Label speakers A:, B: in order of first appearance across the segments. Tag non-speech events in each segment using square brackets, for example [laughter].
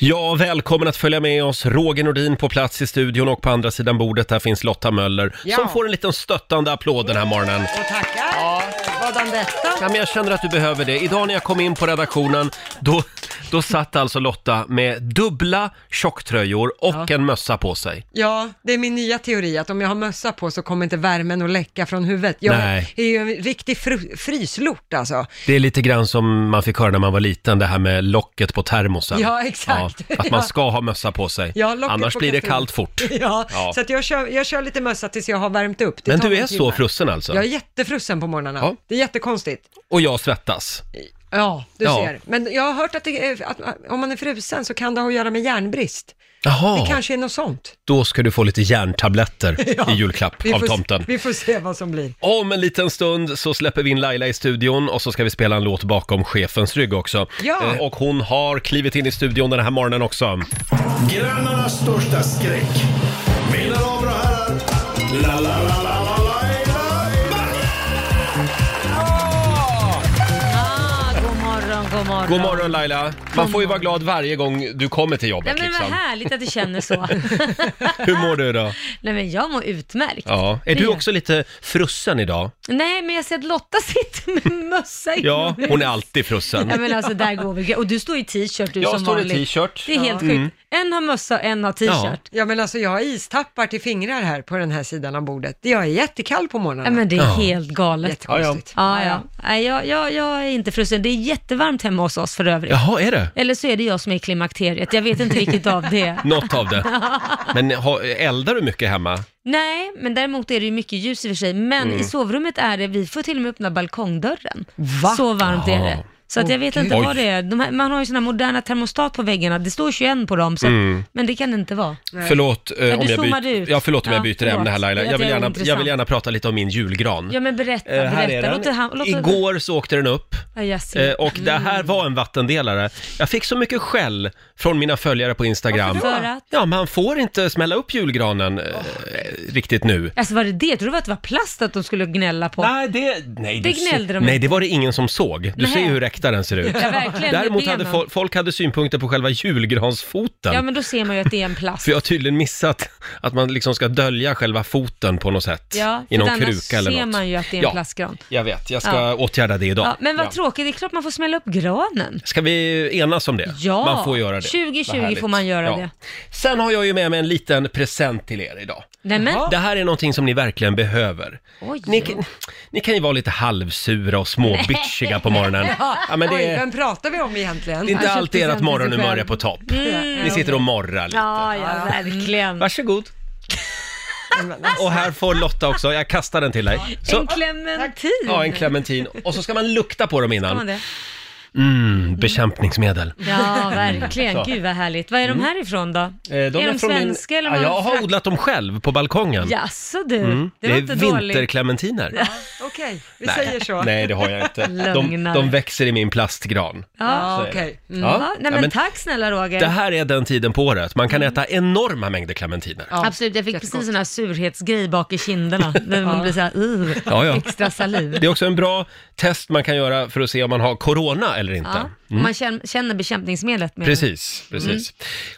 A: Ja, välkommen att följa med oss. Roger Nordin på plats i studion och på andra sidan bordet där finns Lotta Möller
B: Ja.
A: som får en liten stöttande applåd den här morgonen.
B: Och tackar. Vadan detta?
A: Ja, men jag känner att du behöver det. Idag när jag kom in på redaktionen, då, då satt alltså Lotta med dubbla tjocktröjor och en mössa på sig.
B: Ja, det är min nya teori att om jag har mössa på så kommer inte värmen att läcka från huvudet. Jag
A: Nej.
B: är ju en riktig fr- fryslort alltså.
A: Det är lite grann som man fick höra när man var liten, det här med locket på termosen.
B: Ja, exakt.
A: Ja, att man
B: Ja.
A: ska ha mössa på sig,
B: Jag har locket
A: annars
B: på
A: blir det
B: kaffin.
A: kallt fort.
B: [laughs] Ja,
A: Ja.
B: så att jag, kör, jag kör lite mössa tills jag har värmt upp. Det
A: Men
B: tar
A: du
B: några
A: är så
B: timmar.
A: frusen alltså?
B: Jag är jättefrusen på morgnarna.
A: Ja.
B: Det är jättekonstigt.
A: Och jag svettas.
B: Ja, du
A: Ja.
B: ser. Men jag har hört att, det, är- att om man är frusen så kan det ha att göra med järnbrist.
A: Jaha.
B: Det kanske är något sånt.
A: Då ska du få lite järntabletter
C: [laughs]
A: i julklapp
B: Vi
A: av
B: får,
A: tomten.
B: Vi får se vad som blir.
A: Om en liten stund så släpper vi in Laila i studion och så ska vi spela en låt bakom chefens rygg också.
B: Ja.
A: Eh, Och hon har klivit in i studion den här morgonen också.
D: Grannarnas största skräck. Mina damer och herrar. La, la, la, la, la, la, la,
C: Ah, god morgon, god morgon.
A: God morgon Laila! Man får ju vara glad varje gång du kommer till
C: Nej
A: jobbet
C: men vad
A: liksom.
C: härligt att du
A: [laughs]
C: känner så.
A: Hur mår du idag?
C: Nej men jag mår utmärkt.
A: Ja. Är du också lite frusen idag?
C: Nej men jag ser att Lotta [laughs] sitter med mössa
A: Ja,
C: inomhus.
A: hon är alltid frusen.
C: Ja men alltså där går vi Och du står i t-shirt du
A: Jag
C: som
A: står i
C: vanligt.
A: t-shirt. Mm.
C: Det är helt sjukt. En har mössa och en har t-shirt.
B: Ja men alltså jag har istappar till fingrar här på den här sidan av bordet. Jag är jättekall på morgnarna.
C: Ja men det är
A: Ja.
C: helt galet. Ja
B: Jättekonstigt.
C: ja. Nej, jag, jag, jag är inte frusen. Det är jättevarmt hemma hos oss för övrigt.
A: Jaha, är det?
C: Eller så är det jag som är i klimakteriet. Jag vet inte vilket av
A: [laughs]
C: det är.
A: Något av det.
C: [laughs]
A: Men ha- eldar du mycket hemma?
C: Nej, men däremot är det ju mycket ljus i och för sig. Men
A: Mm.
C: i sovrummet är det, vi får till och med öppna balkongdörren.
B: Va?
C: Så varmt är
A: Jaha.
C: det. Så att jag vet inte
A: Oj.
C: vad det är. De här, man har ju sådana moderna termostat på väggarna. Det står 21 på dem, så
A: Mm.
C: att, men det kan det inte vara.
A: Förlåt, eh,
C: du
A: om, jag
C: zoomade
A: byter,
C: ut.
A: ja, förlåt om jag
C: Ja,
A: byter
C: förlåt.
A: ämne här Laila.
C: Det
A: Jag vill,
C: är
A: gärna, jag vill
C: intressant.
A: gärna prata lite om min julgran.
C: Ja, men berätta,
A: Eh, här är
C: berätta. Låt det
A: den.
C: han, låt det- Mm.
A: Igår så åkte den upp.
C: Ja, jag ser.
A: Eh, Och det här var en vattendelare. Jag fick så mycket skäll från mina följare på Instagram.
C: Varför då? För att?
A: Ja, man får inte smälla upp julgranen eh, riktigt nu.
C: Alltså var det det? Jag trodde att det var plast att de skulle gnälla på.
A: Nej, det, nej,
C: Det
A: du ser-
C: gnällde de
A: nej,
C: inte.
A: det var det ingen som såg. Du
C: Nej.
A: ser ju hur räkta den ser ut.
C: Ja, verkligen, med
A: Däremot hade
C: benen.
A: fol- folk hade synpunkter på själva julgransfoten.
C: Ja, men då ser man ju att det är en plast.
A: För jag har tydligen missat att man liksom ska dölja själva foten på något sätt.
C: Ja,
A: I
C: för
A: någon
C: annars
A: kruka eller något.
C: ser man ju att det är en
A: ja,
C: plastgran.
A: Jag vet, jag ska
C: Ja.
A: åtgärda det idag.
C: Ja, men vad tråkigt, det är klart man får smälla upp granen.
A: Ska vi enas om det?
C: Ja,
A: man får göra det.
C: 2020
A: Vad härligt.
C: får man göra det.
A: Sen har jag ju med mig en liten present till er idag.
C: Nej, men,
A: Det här är någonting som ni verkligen behöver.
C: Oj.
A: Ni, kan- ni kan ju vara lite halvsura och småbitchiga på
C: [laughs]
A: morgonen. Ja, men det
B: Oj,
A: är,
B: vem pratar vi om egentligen?
A: det är inte
C: Han
A: alltid
C: köpte
A: ert
C: present till sig
A: morgonhumör
C: själv.
A: är på topp.
B: Mm.
A: Ni sitter och morrar lite.
C: ja, ja, verkligen.
A: Varsågod. Och här får Lotta också, jag kastar den till dig. Så,
C: En clementin.
A: ja, en clementin. Och så ska man lukta på dem
C: Kan man
A: innan.
C: det?
A: Mm, bekämpningsmedel.
C: Ja, verkligen.
A: Så. Mm.
C: Gud vad härligt. Var är de här ifrån då?
A: Eh,
C: är, de
A: från min-
C: svenska eller
A: ja,
C: var
A: Jag
C: de
A: har
C: frakt-
A: odlat dem själv på balkongen. Mm.
C: Jaså du, det
A: Det
C: var
A: är
C: inte dåligt.
A: vinterclementiner.
B: [laughs] Okej, vi
A: Nej.
B: säger så.
A: Nej, det har jag inte. De,
C: Lögnare.
A: de växer i min plastgran.
C: Ja.
B: Ja, okej. Mm.
C: Ja.
A: Ja,
C: Nej, men,
A: ja, men
C: tack Mm. snälla Roger.
A: det här är den tiden på året. Man kan äta enorma mängder clementiner.
B: Ja,
C: Absolut, jag fick
B: jättegott.
C: precis sån här surhetsgrej bak i [laughs] kinderna. Där man blir såhär, uh,
A: Ja, ja.
C: extra saliv.
A: Det är också en bra test man kan göra för att se om man har corona eller inte.
C: Ja. Och man känner, känner bekämpningsmedlet med
A: Mm. Precis, precis.
C: Mm.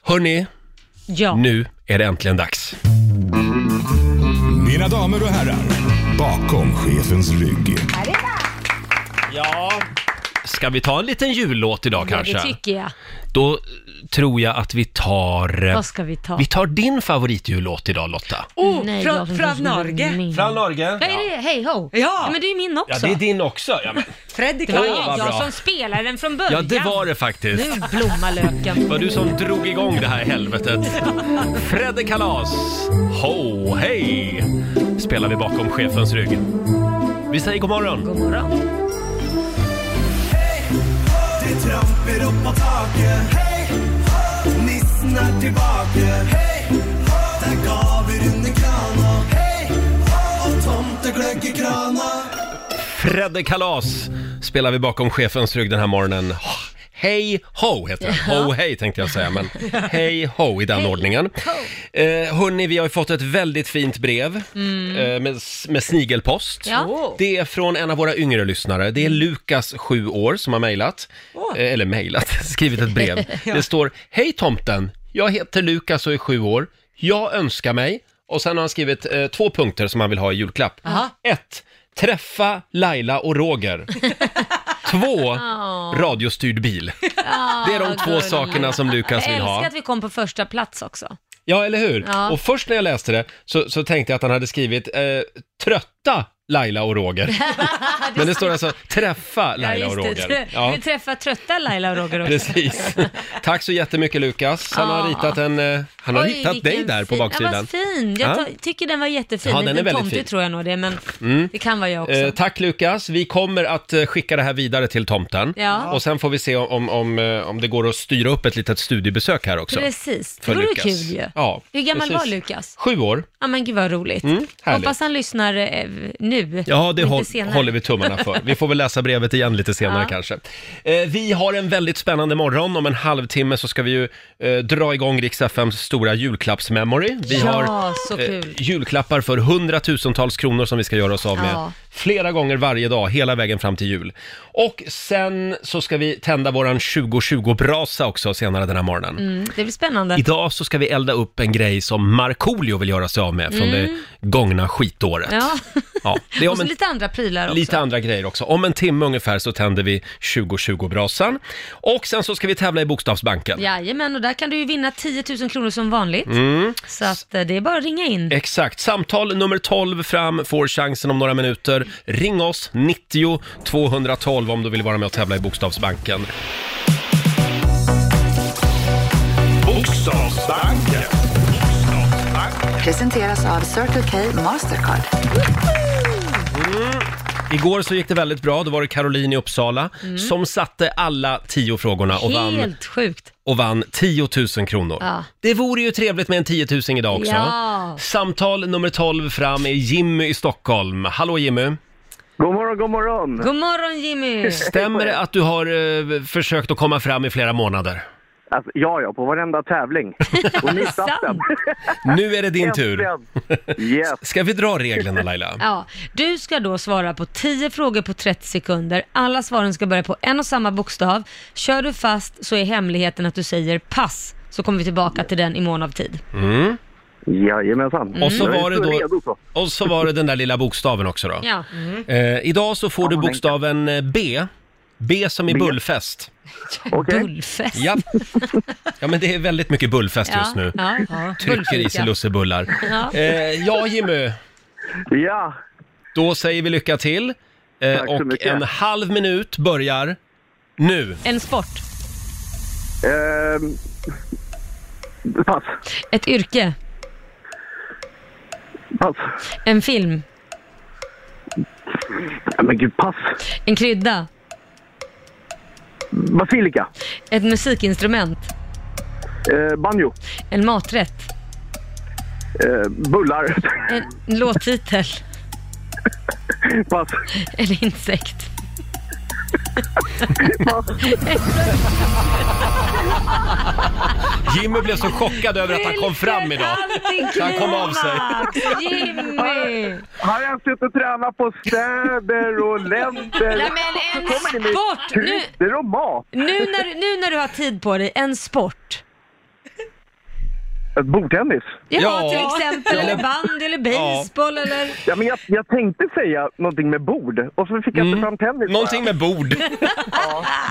A: Hörni,
C: Ja.
A: nu är det äntligen dags.
D: Mina damer och herrar. Bakom chefens rygg.
A: Ja. Ska vi ta en liten jullåt idag
C: Ja,
A: kanske?
C: det tycker jag.
A: Då eh, tror jag att vi tar... eh,
C: Vad ska vi ta?
A: Vi tar din favoritjullåt idag Lotta.
B: Oh,
C: Nej,
B: från,
C: jag-
B: från Norge.
C: Min.
A: Fran Norge.
C: Vad är det? Hej ho!
B: Ja.
C: men det är ju min också.
A: Ja, det är din också. Ja, men.
B: Fredrik
C: Det var
A: Åh, vad
C: jag
A: bra.
C: som spelade den från början.
A: ja det var det faktiskt.
C: Nu blommar
A: [laughs]
C: löken.
A: Det var du som drog igång det här helvetet. Fredde Kalas, ho hej, spelar vi bakom chefens rygg. Vi säger god morgon.
C: God morgon.
E: Det tramper upp på taket Hej! Nissen är tillbaka Hej! Det er gaver under krana Hej! Og tomtegløgg i krana
A: Fredde Kalas spelar vi bakom chefens rygg den här morgonen. Oh, Hej ho heter den. Ho hej tänkte jag säga, men hej ho i den ordningen. Eh, hörni, vi har ju fått ett väldigt fint brev eh, med, s- med snigelpost.
C: Ja.
A: Det är från en av våra yngre lyssnare. Det är Lukas, sju år, som har mejlat.
B: Åh.
A: Eh, eller mejlat, [laughs] skrivit ett
C: [laughs]
A: brev. Det står Hej tomten! Jag heter Lukas och är sju år. Jag önskar mig... Och sen har han skrivit eh, två punkter som han vill ha i julklapp.
C: Aha.
A: Ett, Träffa Laila och
C: [laughs]
A: Roger. Två, radiostyrd bil. Det är de
C: vad
A: två
C: gulligt.
A: sakerna som Lukas
C: Jag
A: vill
C: älskar
A: ha.
C: att vi kom på första plats också.
A: Ja, eller hur?
C: Ja.
A: Och först när jag läste det så, så tänkte jag att han hade skrivit eh, trötta Laila och
C: [laughs]
A: Roger. Men det står alltså träffa Laila och
C: just det.
A: Roger.
C: Trö- Vi träffar trötta Laila och Roger också. [laughs]
A: Precis. Tack så jättemycket Lukas. Han har
C: Ja.
A: ritat en, eh, han har
C: Oj,
A: ritat
C: vilken
A: dig där på
C: fin- Ja,
A: baksidan.
C: vad fin. Jag
A: Ja.
C: ta- tycker den var jättefin.
A: Ja,
C: Ja,
A: den är
C: den är
A: väldigt
C: tomte
A: fin.
C: tror jag nog det är, men det kan vara jag också.
A: Eh, tack Lukas, vi kommer att eh, skicka det här vidare till tomten.
C: Ja.
A: Och sen får vi se om, om, eh, om det går att styra upp ett litet studiebesök här också.
C: Precis, det
A: för
C: vore
A: Lukas.
C: kul ju.
A: Ja,
C: Hur gammal
A: precis.
C: var Lukas?
A: Sju år.
C: Ja men gud vad roligt.
A: härligt.
C: Hoppas han lyssnar eh, nu.
A: Ja, det
C: Lite
A: håll,
C: senare.
A: håller vi tummarna för. Vi får väl läsa brevet igen lite senare
C: [laughs] Ja.
A: kanske. Eh, vi har en väldigt spännande morgon. Om en halvtimme så ska vi ju eh, dra igång Rix FMs stora julklappsmemory. Vi
C: Ja,
A: har eh,
C: så kul.
A: julklappar för hundratusentals kronor som vi ska göra oss av med.
C: Ja.
A: Flera gånger varje dag, hela vägen fram till jul. Och sen så ska vi tända våran 2020-brasa också senare den här morgonen.
C: Mm, det blir spännande.
A: Idag så ska vi elda upp en grej som Markoolio vill göra sig av med från det gångna skitåret.
C: Mm. Ja.
A: Ja, det är
C: Och
A: om
C: så
A: en
C: lite andra prylar också.
A: Lite andra grejer också. Om en timme ungefär så tänder vi 2020-brasan. Och sen så ska vi tävla i Bokstavsbanken.
C: Jajamän, och där kan du ju vinna 10 000 kronor som vanligt.
A: Mm.
C: Så att eh, det är bara att ringa in.
A: Exakt. Samtal nummer 12 fram får chansen om några minuter. Ring oss, 90 212 om du vill vara med och tävla i Bokstavsbanken.
D: Bokstavsbanken.
F: Presenteras av Circle K Mastercard.
A: Igår så gick det väldigt bra. Då var det Caroline i Uppsala som satte alla tio frågorna och vann,
C: Mm. Helt sjukt.
A: och vann 10 000 kronor.
C: Ja.
A: Det vore ju trevligt med en 10 000 idag också.
C: Ja.
A: Samtal nummer 12 fram är Jimmy i Stockholm. Hallå Jimmy!
G: God morgon, god morgon.
C: God morgon Jimmy!
A: Stämmer det att du har eh, försökt att komma fram i flera månader?
G: Alltså, ja, ja, på
A: [laughs]
G: varenda tävling. Och ni satt den.
A: Nu är det din tur.
G: Äntligen. Yes.
A: Ska vi dra reglerna
G: [laughs]
A: Laila?
C: Ja, du ska då svara på 10 frågor på 30 sekunder. Alla svaren ska börja på en och samma bokstav. Kör du fast så är hemligheten att du säger pass, så kommer vi tillbaka till den i mån av tid.
G: Jajamensan.
A: Mm. Och så
G: Jag är
A: var det
G: så
A: då-
G: redo så.
A: Och så var det den där lilla bokstaven också då.
C: Ja,
A: Eh, idag så får du bokstaven eh, B. B som i
G: B.
A: bullfest.
G: Okej.
C: bullfest.
G: [laughs]
A: Ja. ja, men det är väldigt mycket bullfest just nu.
C: Ja, ja.
A: Trycker i sig
C: Bullfika.
A: lussebullar.
C: Ja.
A: Eh, ja, Jimmy.
G: Ja,
A: Då säger vi lycka till. Eh,
G: Tack så
A: och
G: mycket.
A: en halv minut börjar nu.
C: En sport,
G: ehm, pass.
C: ett yrke,
G: Pass.
C: en film,
G: Nej, men gud, pass.
C: en krydda,
G: Basilika.
C: ett musikinstrument,
G: Eh, banjo.
C: en maträtt,
G: Eh, bullar.
A: Eh.
C: en låttitel,
G: [laughs] Pass.
C: en insekt.
A: Jimmy blev så chockad över att han kom fram idag.
C: Vilket
A: Han kom av sig.
C: antiklimax, Jimmy!
G: Har jag suttit och tränat på städer
A: [laughs]
G: och länder?
C: Nej men en
G: Kommer ni med
C: sport! Nu,
G: turister och mat?
C: Nu när, du- nu när du har tid på dig, en sport.
G: Eh, Bordtennis?
C: Ja,
A: Ja.
C: till exempel, eller bandy, eller baseball eller...
G: Ja, men jag, jag tänkte säga någonting med bord och så fick jag inte fram tennis. Typ bara.
A: Mm. Någonting med
G: [laughs]
A: bord.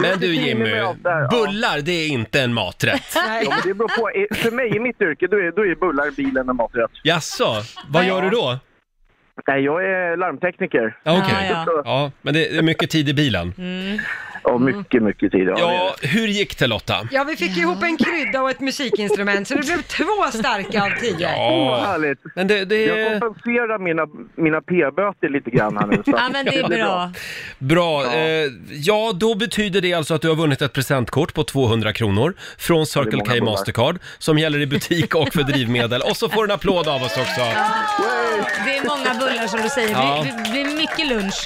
A: Men du Jimmy,
G: med allt där, ja.
A: bullar det är inte en maträtt.
G: Ja, men det beror på. Eh, För mig i mitt yrke, då är, då är bullar bilen en maträtt.
A: Jaså, vad gör du då?
G: Nej, jag är larmtekniker.
A: Ja, okej.
C: Ja,
A: ja.
G: ja.
A: men det är mycket tid i bilen.
G: Ja,
A: Mm.
G: mycket, mycket tid. Ja,
A: Ja, hur gick det Lotta?
B: Ja, vi fick ihop en krydda och ett musikinstrument så det blev två starka av tio.
G: Vad
A: Ja, Eh.
G: härligt.
A: men det, det
G: Jag
A: är
G: kompenserar mina, mina p-böter lite grann
A: [laughs]
G: här nu. Så.
C: Ja men det är bra.
A: bra. Eh, Ja, då betyder det alltså att du har vunnit ett presentkort på 200 kronor från Circle
G: många
A: K
G: bullar.
A: Mastercard som gäller i butik och för drivmedel. Och så får du en applåd av oss också.
C: Det är många bullar som du säger,
A: Ja.
C: det blir, blir mycket lunch.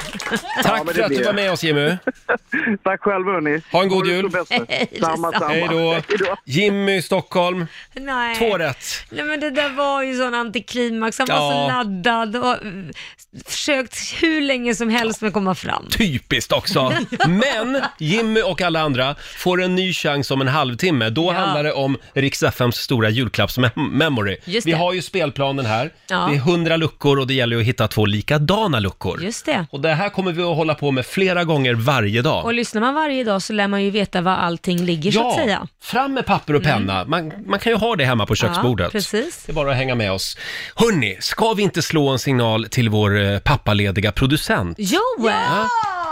A: Tack
G: men
A: för
G: det
A: att du
G: blir-
A: var med oss Jimmy.
G: Tack Tack själv hörni.
A: Ha en god
G: det så
A: jul.
G: bäst.
C: Hej, detsamma.
G: Samma, samma.
A: [laughs] Hej då. Jimmy i Stockholm,
C: Nej.
A: två rätt.
C: Nej men det där var ju sån antiklimax, han var
A: Ja.
C: så laddad och mm, försökt hur länge som helst med att komma fram.
A: Typiskt också. Men Jimmy och alla andra får en ny chans om en halvtimme. Då handlar det om Rix FMs stora julklappsmemory.
C: Just
A: Vi
C: det.
A: har ju spelplanen här.
C: Ja.
A: Det är hundra luckor och det gäller ju att hitta två likadana luckor.
C: Just det.
A: Och det här kommer vi att hålla på med flera gånger varje dag.
C: Och lyssnar man varje dag så lär man ju veta var allting ligger så att säga. Mm.
A: fram med papper och penna. Man, man kan ju ha det hemma på köksbordet.
C: Ja, precis.
A: Det är bara att hänga med oss. Hörni, ska vi inte slå en signal till vår eh, pappalediga producent?
C: Jo!
A: Ja,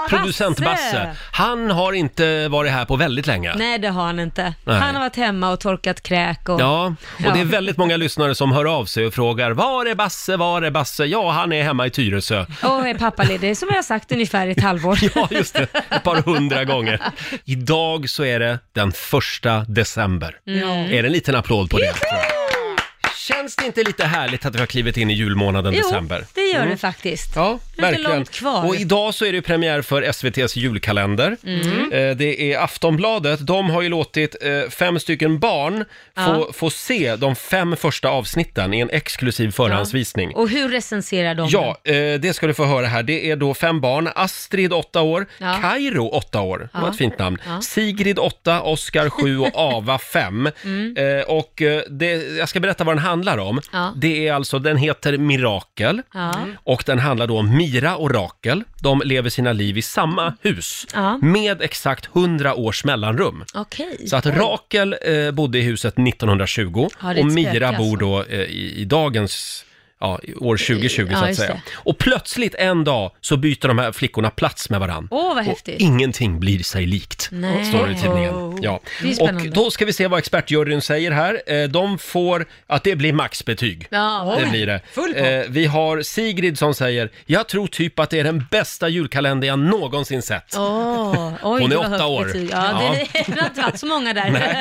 A: Producent
C: Basse.
A: Basse. Han har inte varit här på väldigt länge.
C: Nej det har han inte.
A: Nej.
C: Han har varit hemma och torkat kräk och...
A: Ja, och det är
C: Ja.
A: väldigt många lyssnare som hör av sig och frågar Var är Basse? Var är Basse? Ja, han är hemma i
C: [laughs]
A: Tyresö.
C: Och är pappaledig, som jag har sagt ungefär i ett halvår.
A: [laughs] Ja, just det. Ett par hundra gånger. Idag så är det den första december.
C: Mm.
A: Är det en liten applåd på det? Känns det inte lite härligt att vi har klivit in i julmånaden december? Mm.
C: Jo, det gör det faktiskt.
A: Ja,
C: Det är inte
A: verkligen.
C: långt kvar.
A: Och idag så är det ju premiär för SVTs julkalender.
C: Mm.
A: Eh, Det är Aftonbladet, de har ju låtit eh, fem stycken barn få, få se de fem första avsnitten i en exklusiv förhandsvisning.
C: Och hur recenserar de
A: Ja, eh, det ska du få höra här. Det är då fem barn. Astrid, åtta år.
C: Ja.
A: Kairo, åtta år. Det var ett fint namn.
C: Ja.
A: Sigrid, åtta. Oskar, sju
C: [laughs]
A: och Ava, fem. Eh, och eh, det, jag ska berätta vad den handlar om.
C: Mm. Ja.
A: Det är alltså, den heter Mirakel.
C: Ja.
A: Och den handlar då om Mira och Rakel. De lever sina liv i samma hus
C: Ja.
A: med exakt 100 års mellanrum.
C: Okej.
A: Så att Rakel eh, bodde i huset 1920
C: Ja, det är ett
A: och Mira
C: spöke alltså.
A: bor då eh, i, i dagens Ja, i år 2020
C: Ja,
A: så att
C: just
A: säga.
C: det.
A: Och plötsligt en dag så byter de här flickorna plats med varann.
C: Åh, vad
A: och
C: häftigt.
A: ingenting blir sig likt,
C: Nej.
A: står det i tidningen. Ja.
C: Det är
A: Och
C: spännande.
A: då ska vi se vad expertjuryn säger här. Eh, De får att det blir maxbetyg.
C: Ja.
A: Det blir det.
B: Full pott.
A: Eh, vi har Sigrid som säger, jag tror typ att det är den bästa julkalender jag någonsin sett.
C: Åh, oj,
A: Hon är
C: vad högt
A: åtta år.
C: betyg. Ja,
A: Ja.
C: Det, [laughs] det, det har inte varit så många där.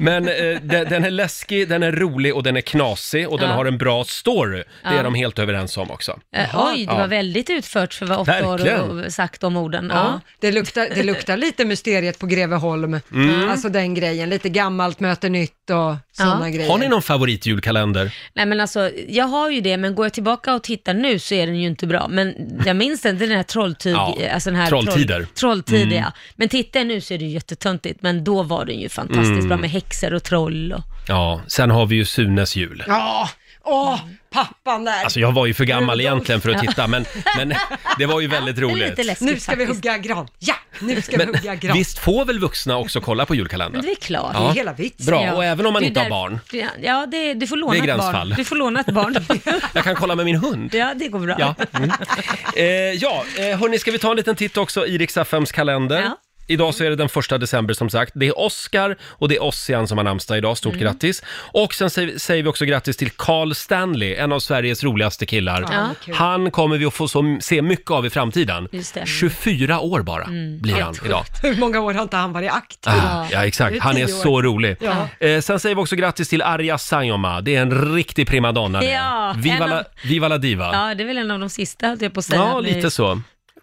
A: Men eh, de, den är läskig, den är rolig och den är knasig och den
C: Ja.
A: har en bra story. Det är de helt överens om också.
C: Eh, oj, det
A: Ja.
C: var väldigt utfört för att vara åtta år och-
A: Verkligen.
C: och sagt de orden. Ja.
B: Det luktar, det luktar lite mysteriet på Greveholm,
A: Mm.
B: alltså den grejen. Lite gammalt möter nytt och sådana grejer.
A: Har ni någon favoritjulkalender?
C: Nej men alltså, jag har ju det, men går jag tillbaka och tittar nu så är den ju inte bra. Men jag minns inte den här trolltyg...
A: Ja,
C: Alltså den här
A: Trolltider. Mm.
C: Troll, trolltider, ja. Men tittar jag nu så är det ju jättetöntigt, men då var den ju fantastiskt
A: Mm.
C: bra med häxor och troll och...
A: Ja, sen har vi ju Sunes jul.
B: Ja, åh, pappan där.
A: Alltså jag var ju för gammal egentligen för att titta, men, men det var ju väldigt
C: Det är
A: roligt.
C: lite läskigt
B: nu ska vi
C: faktiskt.
B: hugga gran. Ja, nu ska
A: Men
B: vi hugga gran.
A: visst får väl vuxna också kolla på
C: Men
A: julkalendern?
C: det är klart.
B: Det
A: Ja.
B: är hela vitsen.
A: Bra,
C: Ja.
A: och även om man
C: Det är
A: inte har
C: där-
A: barn.
C: Ja, det, du får låna
A: Det är
C: ett
A: gränsfall.
C: barn. Du får låna
A: [laughs]
C: ett barn.
A: Jag kan kolla med min hund.
C: ja, det går bra.
A: Ja, mm. eh, ja eh, hörni, ska vi ta en liten titt också i Rix FMs kalender?
C: Ja.
A: Idag så är det den första december som sagt. Det är Oscar och det är Ossian som har namnsdag idag. Stort
C: Mm.
A: grattis! Och sen sä- säger vi också grattis till Carl Stanley, en av Sveriges roligaste killar.
C: Ja.
A: Han kommer vi att få så, se mycket av i framtiden.
C: Just det. Mm.
A: 24 år bara blir han idag.
B: Hur många år har inte han varit aktiv?
A: Ah, ja,
B: Det
A: exakt.
B: är
A: Han är
B: tio år.
A: så rolig.
B: Ja.
A: Eh, sen säger vi också grattis till Arja Saijonmaa. Det är en riktig primadonna det.
C: Ja, en
A: Viva,
C: av-
A: la, Viva la Diva.
C: Ja, det är väl en av de sista, höll jag på att säga.
A: Ja,
C: med
A: lite så.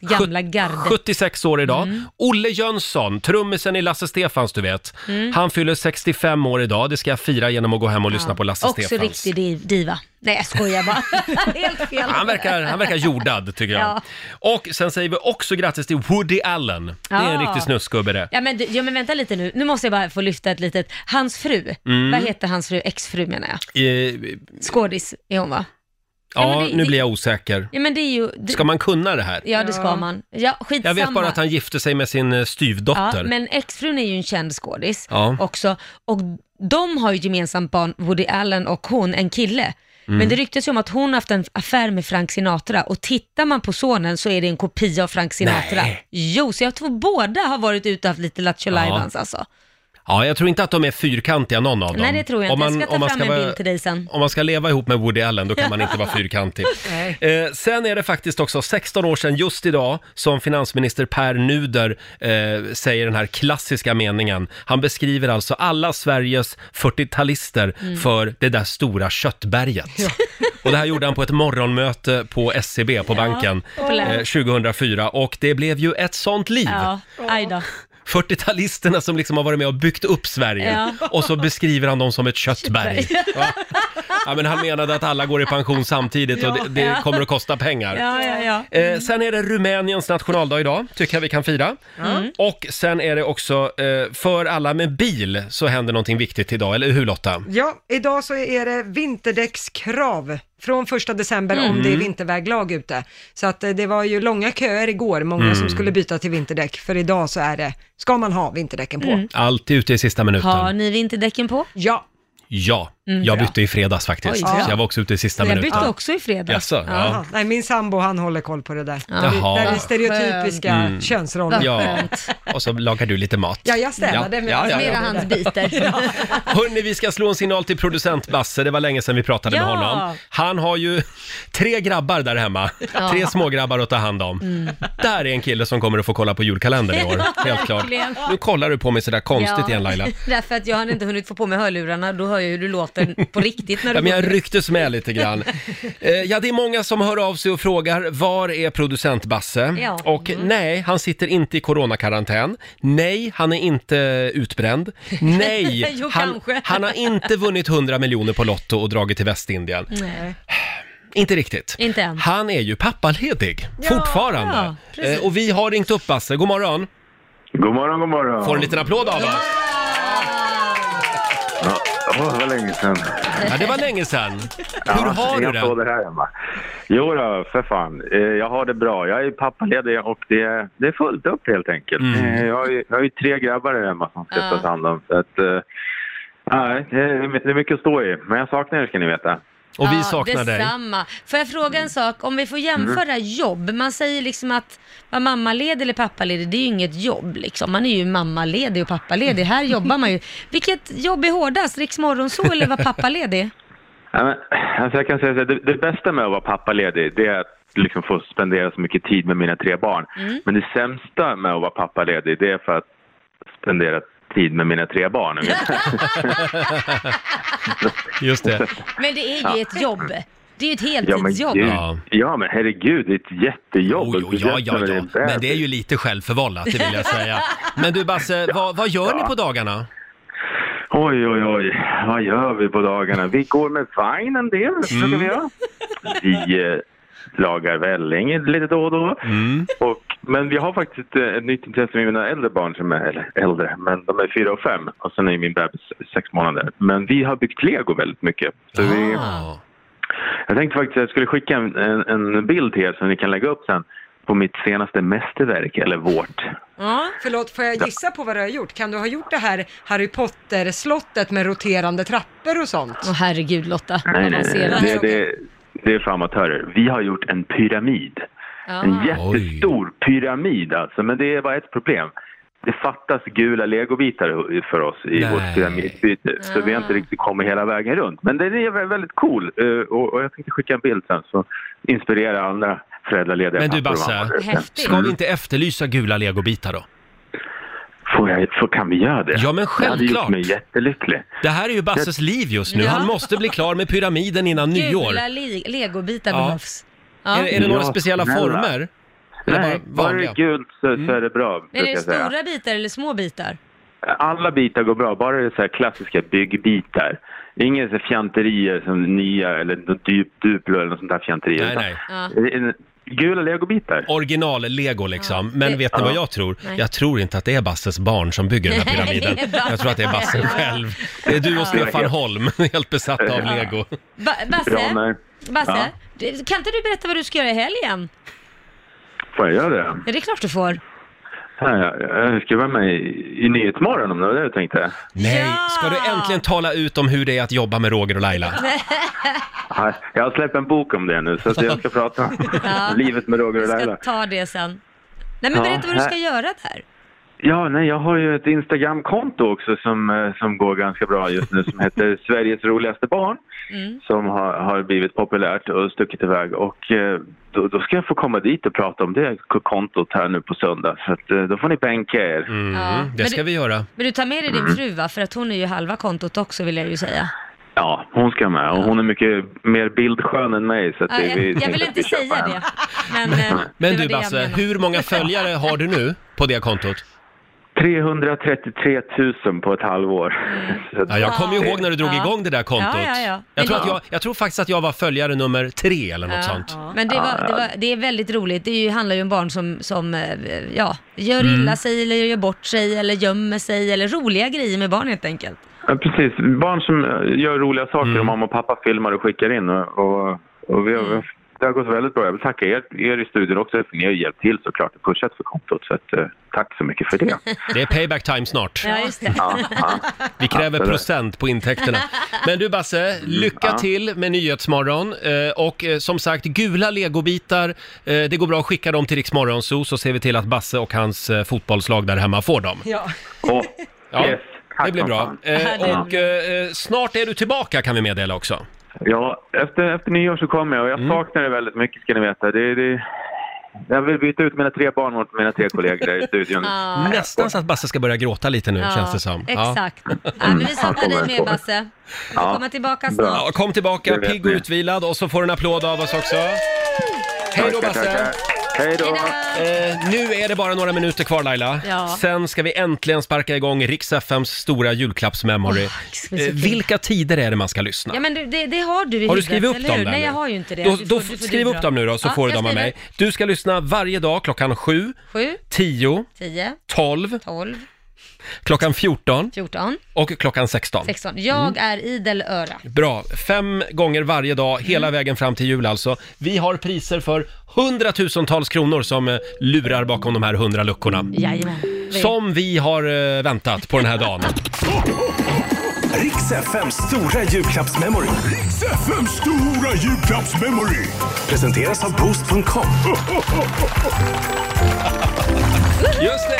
C: Gamla
A: Sjut-
C: gardet. Mm.
A: 76 år idag. Olle Jönsson, trummisen i Lasse Stefans du vet.
C: Mm.
A: Han fyller 65 år idag. Det ska jag fira genom att gå hem och lyssna på Lasse
C: Också
A: Stefans.
C: riktig div- diva. Nej, jag skojar bara. [laughs] Helt fel.
A: Han verkar, han verkar jordad tycker jag.
C: [laughs] Ja.
A: Och sen säger vi också grattis till Woody Allen. Det är en
C: Ja.
A: riktig snusgubbe det.
C: Ja men, du- ja men vänta lite nu, nu måste jag bara få lyfta ett litet, hans fru,
A: Mm.
C: vad heter hans fru, exfru menar jag,
A: Eh,
C: skådis är hon va? Ja,
A: ja,
C: men det-
A: nu blir jag osäker.
C: Ja men det är ju, det,
A: Ska man kunna det här?
C: ja det ska man. Ja skitsamma.
A: Jag vet bara att han gifte sig med sin eh,
C: Ja,
A: styvdotter.
C: men exfrun är ju en känd skådis
A: Ja.
C: också och de har ju gemensamt barn, Woody Allen och hon, en kille.
A: Mm.
C: Men det ryktas ju om att hon haft en affär med Frank Sinatra och tittar man på sonen så är det en kopia av Frank Sinatra.
A: Nej.
C: Jo, så jag tror båda har varit ute och haft lite lattjo
A: Ja.
C: ja. alltså.
A: Ja, jag tror inte att de är fyrkantiga någon av dem.
C: Nej, det tror jag
A: Om
C: inte.
A: man-
C: jag ska
A: om
C: ta
A: man
C: fram en
A: vara-
C: bild till dig sen.
A: Om man ska leva ihop med Woody Allen då kan man inte vara
C: [laughs]
A: fyrkantig.
B: Nej.
A: Eh, sen är det faktiskt också 16 år sedan just idag som finansminister Per Nuder eh, säger den här klassiska meningen. Han beskriver alltså alla Sveriges 40-talister
C: Mm.
A: för det där stora köttberget. Och det här gjorde han på ett morgonmöte på SCB, på banken, eh, 2004. Och det blev ju ett sånt liv.
C: Ja, aj då.
A: 40-talisterna som liksom har varit med och byggt upp Sverige.
C: Ja.
A: Och så beskriver han dem som ett köttberg. Ja. Ja, men han menade att alla går i pension samtidigt och det, det kommer att kosta pengar.
C: Ja, ja, ja.
A: Eh, sen är det Rumäniens nationaldag idag, tycker jag vi kan fira.
C: Mm.
A: Och sen är det också, eh, för alla med bil så händer någonting viktigt idag, eller hur Lotta?
B: Ja, idag så är det vinterdäckskrav från 1 december
A: Mm.
B: om det är vinterväglag ute. Så att eh, det var ju långa köer igår, många
A: Mm.
B: som skulle byta till vinterdäck, för idag så är det, ska man ha vinterdäcken på?
A: Alltid ute i sista minuten.
C: Har ni vinterdäcken på?
B: Ja,
A: Ja, jag bytte i fredags faktiskt.
C: Oj,
A: så
C: bra.
A: jag var också ute i sista
C: Jag
A: minuten.
C: bytte också i fredags.
A: Jaså, ja.
B: Aha. nej min sambo han håller koll på det där. Det
A: Jaha. Mm.
B: där är stereotypiska könsroller.
C: Vad
A: Ja,
C: skönt.
A: och så lagar du lite mat.
B: Ja, jag städade
A: Ja, ja, ja,
B: medan jag
A: ja.
C: Mera
B: jobbade.
C: handsbitar.
A: [laughs] Hörni, vi ska slå en signal till producent Basse. Det var länge sedan vi pratade med
C: Ja.
A: honom. Han har ju tre grabbar där hemma. Tre smågrabbar att ta hand om. Där är en kille som kommer att få kolla på julkalendern i år.
C: Mm. [laughs] Ja,
A: Helt klart.
C: verkligen.
A: Nu kollar du på mig sådär konstigt igen Laila.
C: [laughs] Därför att jag hade inte hunnit få på mig hörlurarna, då hör jag hur du låter på riktigt när du
A: Ja, men jag
C: pratar.
A: rycktes med
C: [laughs]
A: lite grann. Eh, Ja, det är många som hör av sig och frågar var är producent Basse?
C: Ja. Mm.
A: Och nej, han sitter inte i coronakarantän. Nej, han är inte utbränd. Nej,
C: [laughs] Jo,
A: han,
C: kanske.
A: han har inte vunnit 100 miljoner på Lotto och dragit till Västindien.
C: Nej.
A: [sighs] Inte riktigt.
C: Inte än.
A: Han är ju pappaledig, fortfarande.
C: ja, precis.
A: Eh, och vi har ringt upp Basse, god morgon.
G: God morgon, god morgon.
A: Får en liten applåd av oss.
G: Ja, åh, vad länge sedan.
A: Ja, det var länge sedan.
G: Ja,
A: Hur har
G: inga
A: du det?
G: applåder här hemma. Jo då, för fan. Eh, Jag har det bra. Jag är pappaledig och det är, det är fullt upp helt enkelt.
A: Mm.
G: Eh, Jag, har ju, jag har ju tre grabbar här hemma som ska
C: Ja.
G: tas hand om. Så att, eh, nej, det är det är mycket att stå i. Men jag saknar er ska ni veta.
A: Och vi
C: Ja,
A: saknar dig. Mm.
C: detsamma. Får jag fråga en sak? Om vi får jämföra jobb. Man säger liksom att vara mammaledig eller pappaledig, det är ju inget jobb liksom. Man är ju mammaledig och pappaledig. Här jobbar man ju. Vilket jobb är hårdast? Riks Morgonzoo eller vara
G: [laughs]
C: pappaledig?
G: Ja, men, Alltså jag kan säga så här, det, det bästa med att vara pappaledig det är att liksom få spendera så mycket tid med mina tre barn. Men det sämsta med att vara pappaledig det är för att spendera tid med mina tre barn.
A: Just det.
C: Men det är ju ett jobb. Det är ju ett
G: Ja men,
C: heltidsjobb.
G: gud,
A: Ja.
G: ja men herregud, det är ett jättejobb.
A: Jo, jo, ja, ja, ja. Men det är ju lite självförvållat, det vill jag säga. Men du Basse, vad, vad gör ni på dagarna?
G: Oj, oj, oj. Vad gör vi på dagarna? Vi går med vagn en del,
A: Mm.
G: brukar vi göra. Vi eh, lagar välling lite då och då.
A: Mm.
G: Och, men vi har faktiskt eh, ett nytt intresse med mina äldre barn, som är, eller äldre, men de är fyra och fem. Och sen är min bebis sex månader. Men vi har byggt lego väldigt mycket. Så vi,
A: Ah.
G: jag tänkte faktiskt att jag skulle skicka en, en, en bild till er som ni kan lägga upp sen på mitt senaste mästerverk, eller vårt.
C: Ja.
B: Förlåt, får jag gissa på vad du har gjort? Kan du ha gjort det här Harry Potter-slottet med roterande trappor och sånt?
C: Åh herregud Lotta,
G: Nej, nej, nej.
C: avancerat.
G: Det, det, det är för amatörer. Vi har gjort en pyramid. En
C: Ja.
G: jättestor pyramid alltså, men det är bara ett problem. Det fattas gula legobitar för oss i
A: Nej.
G: vårt pyramidbyte, så vi har
C: Ah.
G: inte riktigt kommit hela vägen runt. Men den är vä- väldigt cool eh, och och jag tänkte skicka en bild sen så inspirera andra föräldralediga
A: Men du,
G: pappor och
A: Basse,
G: mammor.
C: Häftigt.
A: Ska vi inte efterlysa gula legobitar då?
G: Får jag, får, kan vi göra det?
A: Ja, men
G: Det hade
A: självklart.
G: gjort mig jättelycklig.
A: Det här är ju Basses liv just nu.
C: Ja.
A: Han måste bli klar med pyramiden innan nyår.
C: Gula li- legobitar
A: Ja.
C: behövs. Ja.
A: Är, är det några
G: Ja,
A: speciella
G: snälla.
A: former? Eller
G: Nej,
A: bara
G: bara det
A: vanliga? Mm.
G: är gult så, så är det bra,
C: är
G: brukar
C: det
G: jag säga.
C: stora bitar eller små bitar?
G: Alla bitar går bra, bara det är så här klassiska byggbitar. Inga så här fjanterier som nya eller något Dup- Duplo eller något sånt där
A: Nej,
G: fjanterier.
A: nej.
C: Ja.
G: nej. Gula legobitar.
A: Original-lego liksom. Men
C: det-
A: vet ni vad
G: Ja.
A: jag tror?
C: Nej.
A: Jag tror inte att det är Basses barn som bygger den här
C: Nej, det är
A: pyramiden.
C: Basse.
A: Jag tror att det är Basse
C: Ja.
A: själv. Det är du och Stefan Holm, [laughs] helt besatta av lego.
C: Ba-
G: Bra,
C: Basse,
G: nej.
C: Basse
G: Ja.
C: du- kan inte du berätta vad du ska göra i helgen?
G: Får jag göra det?
C: Ja, det är klart du får.
G: Ja, ja, Jag ska vara med i, i Nyhetsmorgon om det var det du tänkte.
A: Nej,
C: Ja!
A: ska du äntligen tala ut om hur det är att jobba med Roger och Laila?
G: Ja, Jag har släppt en bok om det nu så att
C: [laughs]
G: jag ska prata om
C: Ja.
G: livet med Roger
C: Vi
G: och
C: ska
G: Laila.
C: ta det sen. Nej men
G: Ja,
C: berätta vad du ska
G: nej.
C: göra där.
G: Ja, nej, jag har ju ett Instagram-konto också som, eh, som går ganska bra just nu
C: [laughs]
G: som heter Sveriges roligaste barn
C: Mm.
G: som har, har blivit populärt och stuckit iväg. Och eh, då, då ska jag få komma dit och prata om det k- kontot här nu på söndag. Så att, eh, då får ni bänka er.
A: Mm,
C: Ja,
A: det
C: men
A: ska
C: du-
A: vi göra.
C: Men du tar med dig
G: Mm.
C: din fru va? För att hon är ju halva kontot också vill jag ju säga.
G: Ja, hon ska med och hon är mycket mer bildskön än mig. Så att
C: Ja,
G: det,
C: jag,
G: vi
C: jag
G: tänkte
C: vill
G: att vi
C: inte
G: köper
C: säga
G: henne.
C: det. Men, eh,
G: [laughs]
A: Men
C: det
A: du
C: var det jag
A: Basse,
C: menade.
A: hur
C: [laughs]
A: många följare har du nu på det kontot?
G: 333 000 på ett halvår.
C: Mm.
G: Så att-
A: Ja, jag kommer ju ihåg när du drog
C: Ja.
A: igång det där kontot.
C: Ja, ja, ja.
A: Jag, tror
C: Men
A: att
C: det-
A: jag, jag tror faktiskt att jag var följare nummer tre eller något sånt.
C: Men det, var, det, var, det är väldigt roligt. Det är ju, handlar ju om barn som, som eh, ja, gör
A: Mm.
C: illa sig eller gör bort sig eller gömmer sig eller roliga grejer med barn helt enkelt.
G: Ja, precis. Barn som eh, gör roliga saker
A: Mm.
G: och mamma och pappa filmar och skickar in. Och, och, och vi har,
A: Mm.
G: Det har gått väldigt bra. Jag vill tacka er, er i studion också för ni har hjälpt till såklart och pushat för kontot. Så att, eh, tack så mycket
A: [laughs]
G: för det.
A: Det är payback time snart.
C: Ja, just det.
G: Ja, ja.
A: Vi kräver
G: Absolut.
A: procent på intäkterna. Men du Basse, lycka
G: ja.
A: till med Nyhetsmorgon. Eh, Och eh, som sagt, gula legobitar, eh, det går bra att skicka dem till Rix Morgonzoo så ser vi till att Basse och hans eh, fotbollslag där hemma får dem.
B: Ja.
G: Och,
A: Ja,
G: yes, tack
A: det blir
G: som
A: bra.
G: fan.
A: Eh,
C: Ja, det är
A: Och eh, eh, snart är du tillbaka kan vi meddela också.
G: Ja, efter, efter nyår så kommer jag och jag
A: Mm.
G: saknar er väldigt mycket ska ni veta. Det, det, jag vill byta ut mina tre barn mot mina tre kollegor där i studion.
C: Ja,
A: Nästan så att Basse ska börja gråta lite nu känns det som. Ja.
C: Exakt. Ja. men vi saknar dig med Basse. Du får
G: Ja.
C: komma tillbaka
G: Bra.
C: snart.
A: Ja, kom tillbaka
G: Det vet
A: pigg och
G: ni.
A: utvilad och så får du en applåd av oss också. Hej då
G: Tackar,
A: Basse!
G: tackar. Hej då!
A: Eh, nu är det bara några minuter kvar Laila.
C: Ja.
A: Sen ska vi äntligen sparka igång Rix FMs stora julklappsmemory.
C: ska bli så
A: eh,
C: kul.
A: vilka tider är det man ska lyssna?
C: Ja men du, det, det har du i
A: Har du
C: huvudet,
A: skrivit upp
C: eller
A: dem
C: hur?
A: där
C: Nej
A: nu?
C: jag har ju inte det.
A: Då,
C: Du
A: då
C: får- du får
A: skriv
C: bidra.
A: upp dem nu då så får du
C: jag
A: dem av
C: skriver.
A: mig. Du ska lyssna varje dag klockan 7,
C: Sju,
A: 10,
C: tio,
A: 12,
C: tolv,
A: klockan 14
C: fjorton,
A: och klockan 16.
C: sexton. Jag
A: Mm.
C: är idel öra.
A: Bra, fem gånger varje dag,
C: Mm.
A: hela vägen fram till jul alltså. Vi har priser för hundratusentals kronor som eh, lurar bakom de här hundra luckorna.
C: Jajamän.
A: Som vi har eh, väntat på den här dagen.
E: Riks FMs stora julklappsmemory. Riks FMs stora julklappsmemory. Presenteras av Boost.com.
A: Just det!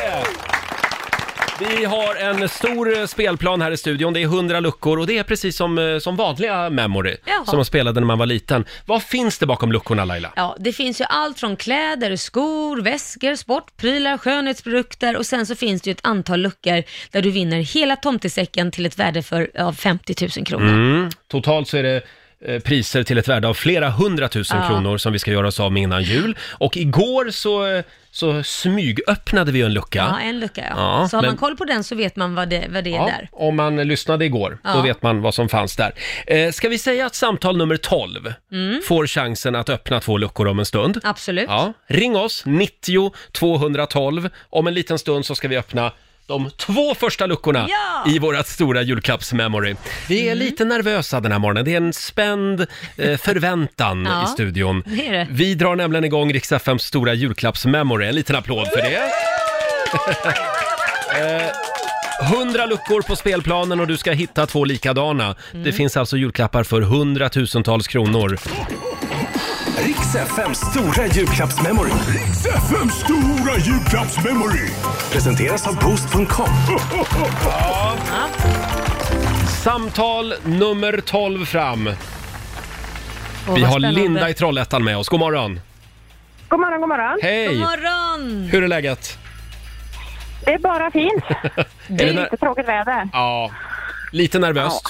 A: Vi har en stor eh, spelplan här i studion. Det är 100 luckor och det är precis som, eh, som vanliga memory
C: Jaha.
A: som man spelade när man var liten. Vad finns det bakom luckorna Laila?
C: Ja, det finns ju allt från kläder, skor, väskor, sportprylar, skönhetsprodukter och sen så finns det ju ett antal luckor där du vinner hela tomtesäcken till ett värde för, av 50 000 kronor.
A: Mm. Totalt så är det eh, priser till ett värde av flera hundratusen
C: Ja.
A: kronor som vi ska göra oss av med innan jul. Och igår så, eh, så smygöppnade vi ju en lucka.
C: Ja, en lucka ja.
A: Ja,
C: så har
A: men-
C: man koll på den så vet man vad det, vad det är
A: Ja,
C: där.
A: om man lyssnade igår, då
C: Ja.
A: vet man vad som fanns där. Eh, ska vi säga att samtal nummer 12
C: Mm.
A: får chansen att öppna två luckor om en stund?
C: Absolut.
A: Ja, ring oss, 90 212. Om en liten stund så ska vi öppna de två första luckorna
C: Ja! Mm.
A: i vårat stora julklappsmemory. Vi är lite nervösa den här morgonen. Det är en spänd
C: [laughs]
A: eh, förväntan
C: Ja,
A: i studion.
C: det är det.
A: Vi drar nämligen igång Rix FMs stora julklappsmemory. En liten applåd för det. [laughs] Eh, 100 luckor på spelplanen och du ska hitta två likadana.
C: Mm.
A: Det finns alltså julklappar för hundratusentals kronor.
E: Riks FMs stora julklappsmemory. Riks FMs stora julklappsmemory. Presenteras av Boost.com.
A: Samtal nummer 12 fram.
C: Åh,
A: Vi har
C: vad spännande.
A: Linda i Trollhättan med oss. God morgon!
H: God morgon, god morgon.
C: God
A: Hej!
C: morgon!
A: Hur är läget?
H: Det är bara fint. Det
A: [laughs] Är
H: är
A: det ner-
H: lite tråkigt väder.
A: Ja, lite nervöst.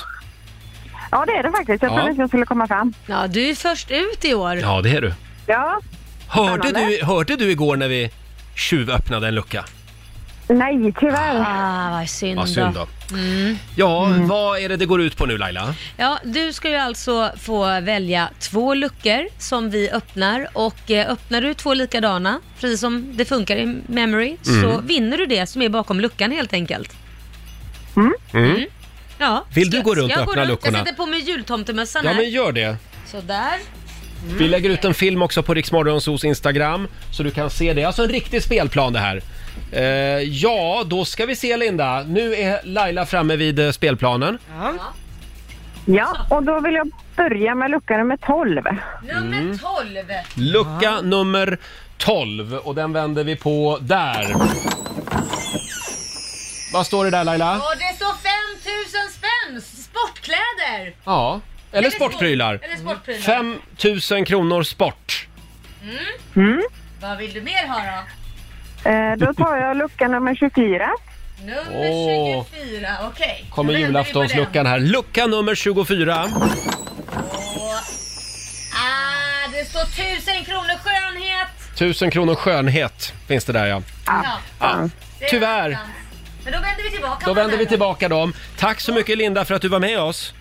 H: Ja, det är det faktiskt. Jag
A: Ja.
H: trodde inte jag skulle komma fram.
C: Ja, du är först ut i år.
A: Ja, det är du.
H: Ja.
A: Hörde
H: Spännande.
A: du, hörde du igår när vi tjuvöppnade en lucka?
H: Nej, tyvärr.
C: Ah, vad synd,
A: Vad synd
C: då.
A: då. Mm. Ja, vad är det det går ut på nu Laila?
C: Ja, du ska ju alltså få välja två luckor som vi öppnar och eh, öppnar du två likadana, precis som det funkar i memory, så
A: Mm.
C: vinner du det som är bakom luckan helt enkelt. Mm. Ja.
A: Vill du
C: Ska-
A: gå runt
C: ska jag
A: och öppna
C: runt?
A: luckorna?
C: Jag sätter på mig jultomtemössan
A: Ja,
C: här.
A: men gör det.
C: Sådär.
A: Vi lägger ut en film också på Riksmorgonsos Instagram så du kan se det. Alltså en riktig spelplan det här. Eh, ja, då ska vi se Linda. Nu är Laila framme vid eh, spelplanen.
H: Ja, och då vill jag börja med lucka nummer 12.
A: Mm.
C: Nummer 12.
A: Lucka nummer 12 och den vänder vi på där. Vad står det där Laila?
C: Och det står 5000 spänn! Sportkläder!
A: Ja. Eller sportprylar.
C: Eller sportprylar.
A: 5 000 kronor sport.
C: Vad vill du mer ha då?
H: Eh, då tar jag lucka nummer 24.
C: Nummer
A: Åh.
C: 24, okej.
A: Kommer
C: Då vänder vi på den.
A: julaftonsluckan här. Lucka nummer 24.
C: Ah, det står 1000 kronor skönhet!
A: 1000 kronor skönhet finns det där ja.
C: Ja,
A: ja.
C: det är
A: Ah, Tyvärr.
C: någonstans. Men då vänder vi tillbaka.
A: Då
C: på
A: vänder
C: den
A: vi
C: här
A: tillbaka dem. Tack så mycket Linda för att du var med oss.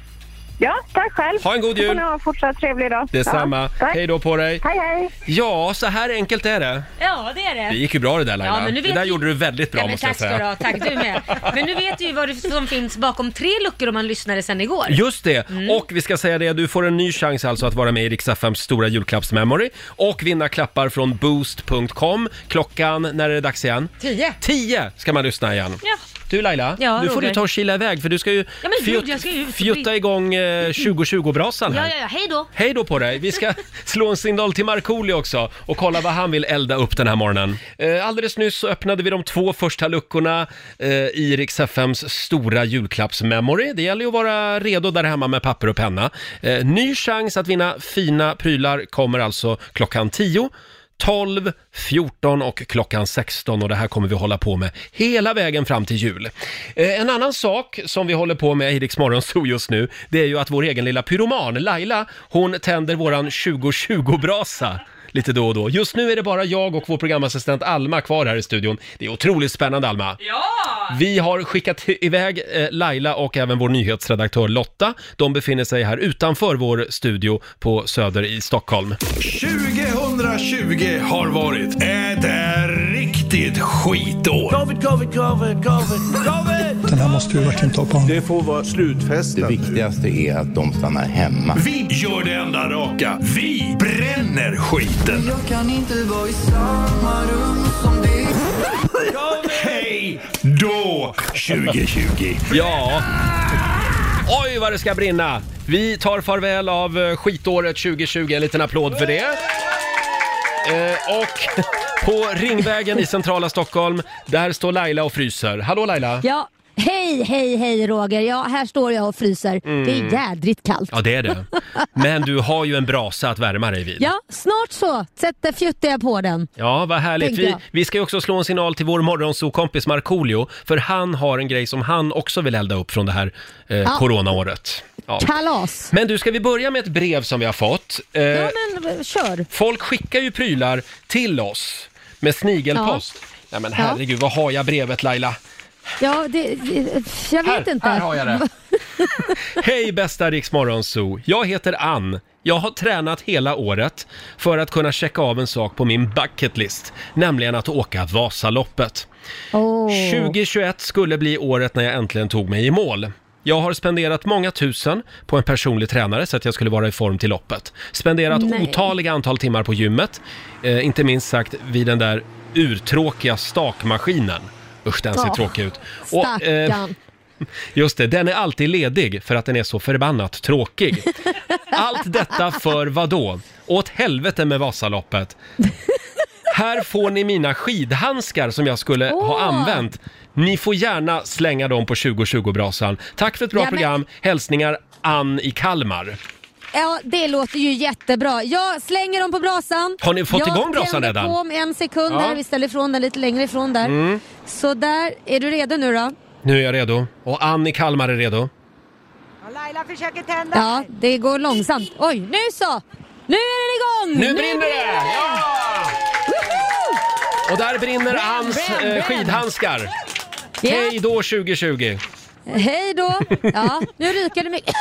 H: Ja, tack själv.
A: Ha en god
H: Så får
A: jul.
H: ni ha en fortsatt trevlig dag.
A: Detsamma.
H: Ja, tack.
A: Hej då på dig.
H: Hej, hej.
A: Ja, så här enkelt är det.
C: då. Ja, det är det.
A: Det gick ju bra det där Laila.
C: Ja, men nu
A: det
C: vet
A: där
C: vi-
A: gjorde du väldigt bra
C: Ja, men
A: måste jag
C: tack ska du
A: säga.
C: ha, tack du med. Men nu vet du ju vad det som finns bakom tre luckor om man lyssnade sen igår.
A: Just det,
C: Mm.
A: och vi ska säga det, du får en ny chans alltså att vara med i Rix FMs stora julklappsmemory och vinna klappar från boost.com. Klockan, när är det dags igen?
C: Tio.
A: 10 ska man lyssna igen.
C: Ja.
A: Du Laila,
C: Ja,
A: nu får
C: Roger.
A: du ta och kila iväg för du ska ju,
C: Ja, men gud, jag ska ju ut och
A: fjutta
C: bli-
A: igång eh, 2020-brasan
C: Ja,
A: här.
C: ja, ja, hej då.
A: Hej då på dig! Vi ska [laughs] slå en signal till Markoolio också och kolla vad han vill elda upp den här morgonen. Eh, Alldeles nyss så öppnade vi de två första luckorna eh, i Rix FMs stora julklappsmemory. Det gäller ju att vara redo där hemma med papper och penna. Eh, Ny chans att vinna fina prylar kommer alltså klockan 10. 12, 14 och klockan 16 och det här kommer vi hålla på med hela vägen fram till jul. Eh, en annan sak som vi håller på med i Rix Morgonzoo just nu, det är ju att vår egen lilla pyroman Laila, hon tänder våran 2020-brasa lite då och då. Just nu är det bara jag och vår programassistent Alma kvar här i studion. Det är otroligt spännande Alma. Vi har skickat iväg eh, Laila och även vår nyhetsredaktör Lotta. De befinner sig här utanför vår studio på Söder i Stockholm.
D: 2020 har varit ett eh, riktigt skitår. Covid, covid, covid, covid, covid.
I: Den här måste vi verkligen ta på allvar.
D: Det får vara slutfesten.
J: viktigaste är att de stannar hemma.
D: Vi gör det enda raka. Vi bränner skiten.
E: Jag kan inte vara i samma rum som dig
D: Hej då 2020.
A: Ja. Oj, vad det ska brinna! Vi tar farväl av eh, skitåret 2020. En liten applåd för det. Eh, och [laughs] på Ringvägen i centrala Stockholm, där står Laila och fryser. Hallå Laila!
K: Ja, hej, hej, hej Roger. Ja, här står jag och fryser. Det är jädrigt kallt.
A: Mm. Ja, det är det. Men du har ju en brasa att värma dig vid.
K: Ja, snart så. Sätter fjuttar jag på den.
A: Ja, vad härligt.
K: Tänkte
A: Vi,
K: jag.
A: vi ska ju också slå en signal till vår morgonsokompis Markoolio, för han har en grej som han också vill elda upp från det här eh, coronaåret. Ja.
K: Kalas.
A: Men du, ska vi börja med ett brev som vi har fått? Eh,
K: Ja, men eh, kör.
A: Folk skickar ju prylar till oss med snigelpost. Nej men herregud, vad har jag brevet Laila?
K: Ja, det, eh, jag vet
A: Här,
K: inte.
A: här har jag
K: [laughs]
A: det. Hej bästa Rix Morgonzoo. Jag heter Ann. Jag har tränat hela året för att kunna checka av en sak på min bucketlist, nämligen att åka Vasaloppet.
K: Åh.
A: 2021 skulle bli året när jag äntligen tog mig i mål. Jag har spenderat många tusen på en personlig tränare så att jag skulle vara i form till loppet. Spenderat
K: Nej.
A: otaliga antal timmar på gymmet, eh, inte minst sagt vid den där urtråkiga stakmaskinen. Usch, den ser
K: Ja.
A: tråkig ut. Och, eh,
K: Stackarn.
A: Just det, den är alltid ledig för att den är så förbannat
K: [laughs]
A: tråkig. Allt detta för vad då? Åt helvete med Vasaloppet. Här får ni mina skidhandskar som jag skulle ha
K: Åh.
A: använt. Ni får gärna slänga dem på 2020-brasan. Tack för ett bra
K: Ja, men-
A: program. Hälsningar Ann i Kalmar.
K: Ja, det låter ju jättebra. Jag slänger dem på brasan.
A: Har ni fått
K: jag
A: igång brasan
K: tänder
A: redan?
K: på om en sekund
A: Ja. Mm.
K: där. Vi ställer ifrån den lite längre ifrån där. Så där, är du redo nu då?
A: Nu är jag redo. Och Ann i Kalmar är redo.
B: Laila försöker tända.
K: Ja, det går långsamt. Oj, nu så! Nu är den igång!
A: Nu brinner det! Och där brinner Anns
K: bränn,
A: eh,
K: bränn.
A: skidhandskar.
K: Ja.
A: Hej då 2020!
K: Hej då! Ja, nu ryker det mycket.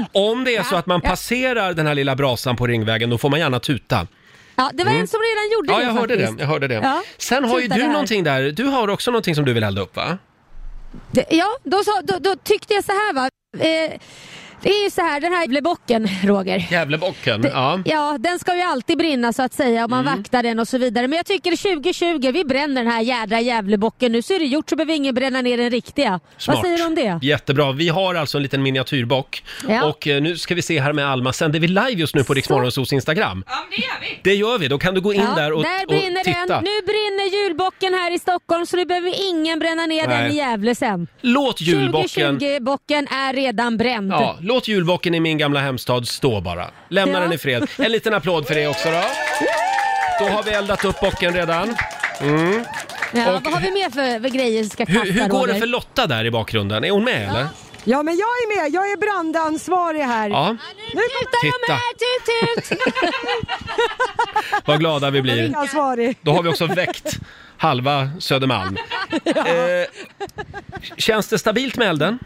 K: [coughs]
A: Om det är så att man passerar den här lilla brasan på Ringvägen, då får man gärna tuta.
K: Ja, det var en som redan
A: Mm.
K: gjorde
A: Ja,
K: det
A: jag hörde
K: faktiskt.
A: det. Jag hörde det.
K: Ja,
A: Sen har ju
K: tuta det
A: du
K: här.
A: någonting där. Du har också någonting som du vill elda upp, va?
K: Det- Ja, då, sa, då, då tyckte jag så här va. Eh, Det är ju så här, den här jävla bocken, Roger.
A: Gävlebocken, ja.
K: Ja, den ska ju alltid brinna så att säga och man
A: Mm.
K: vaktar den och så vidare. Men jag tycker 2020, vi bränner den här jädra Gävlebocken. Nu så är det gjort så behöver ingen bränna ner den riktiga.
A: Smart.
K: Vad säger du om det?
A: Jättebra. Vi har alltså en liten miniatyrbock.
K: Ja.
A: Och eh, nu ska vi se här med Alma. Sänder vi live just nu på Rix Morgonzos Instagram? Ja, det gör vi. Det gör vi. Då kan du gå in
K: Ja,
A: där och,
K: där
A: och
K: brinner
A: titta.
K: den. Nu brinner julbocken här i Stockholm så nu behöver ingen bränna ner
A: Nej.
K: den i Gävle sen.
A: Låt julbocken...
K: 2020-bocken är redan bränd.
A: Ja, låt julbocken i min gamla hemstad stå bara. Lämna
K: Ja.
A: den i fred. En liten applåd för det också då. Då har vi eldat upp bocken redan. Mm.
K: Ja,
A: Och
K: vad har vi mer för, för grejer som ska kastas?
A: hur, hur går det
K: Roger?
A: för Lotta där i bakgrunden? Är hon med eller?
B: Ja, men jag är med. Jag är brandansvarig här.
A: Ja.
B: Nu tutar
A: jag Titta. med här,
K: tut tut!
A: Vad glada vi blir.
B: Brandansvarig.
A: Då har vi också väckt halva Södermalm. Eh, känns det stabilt med elden?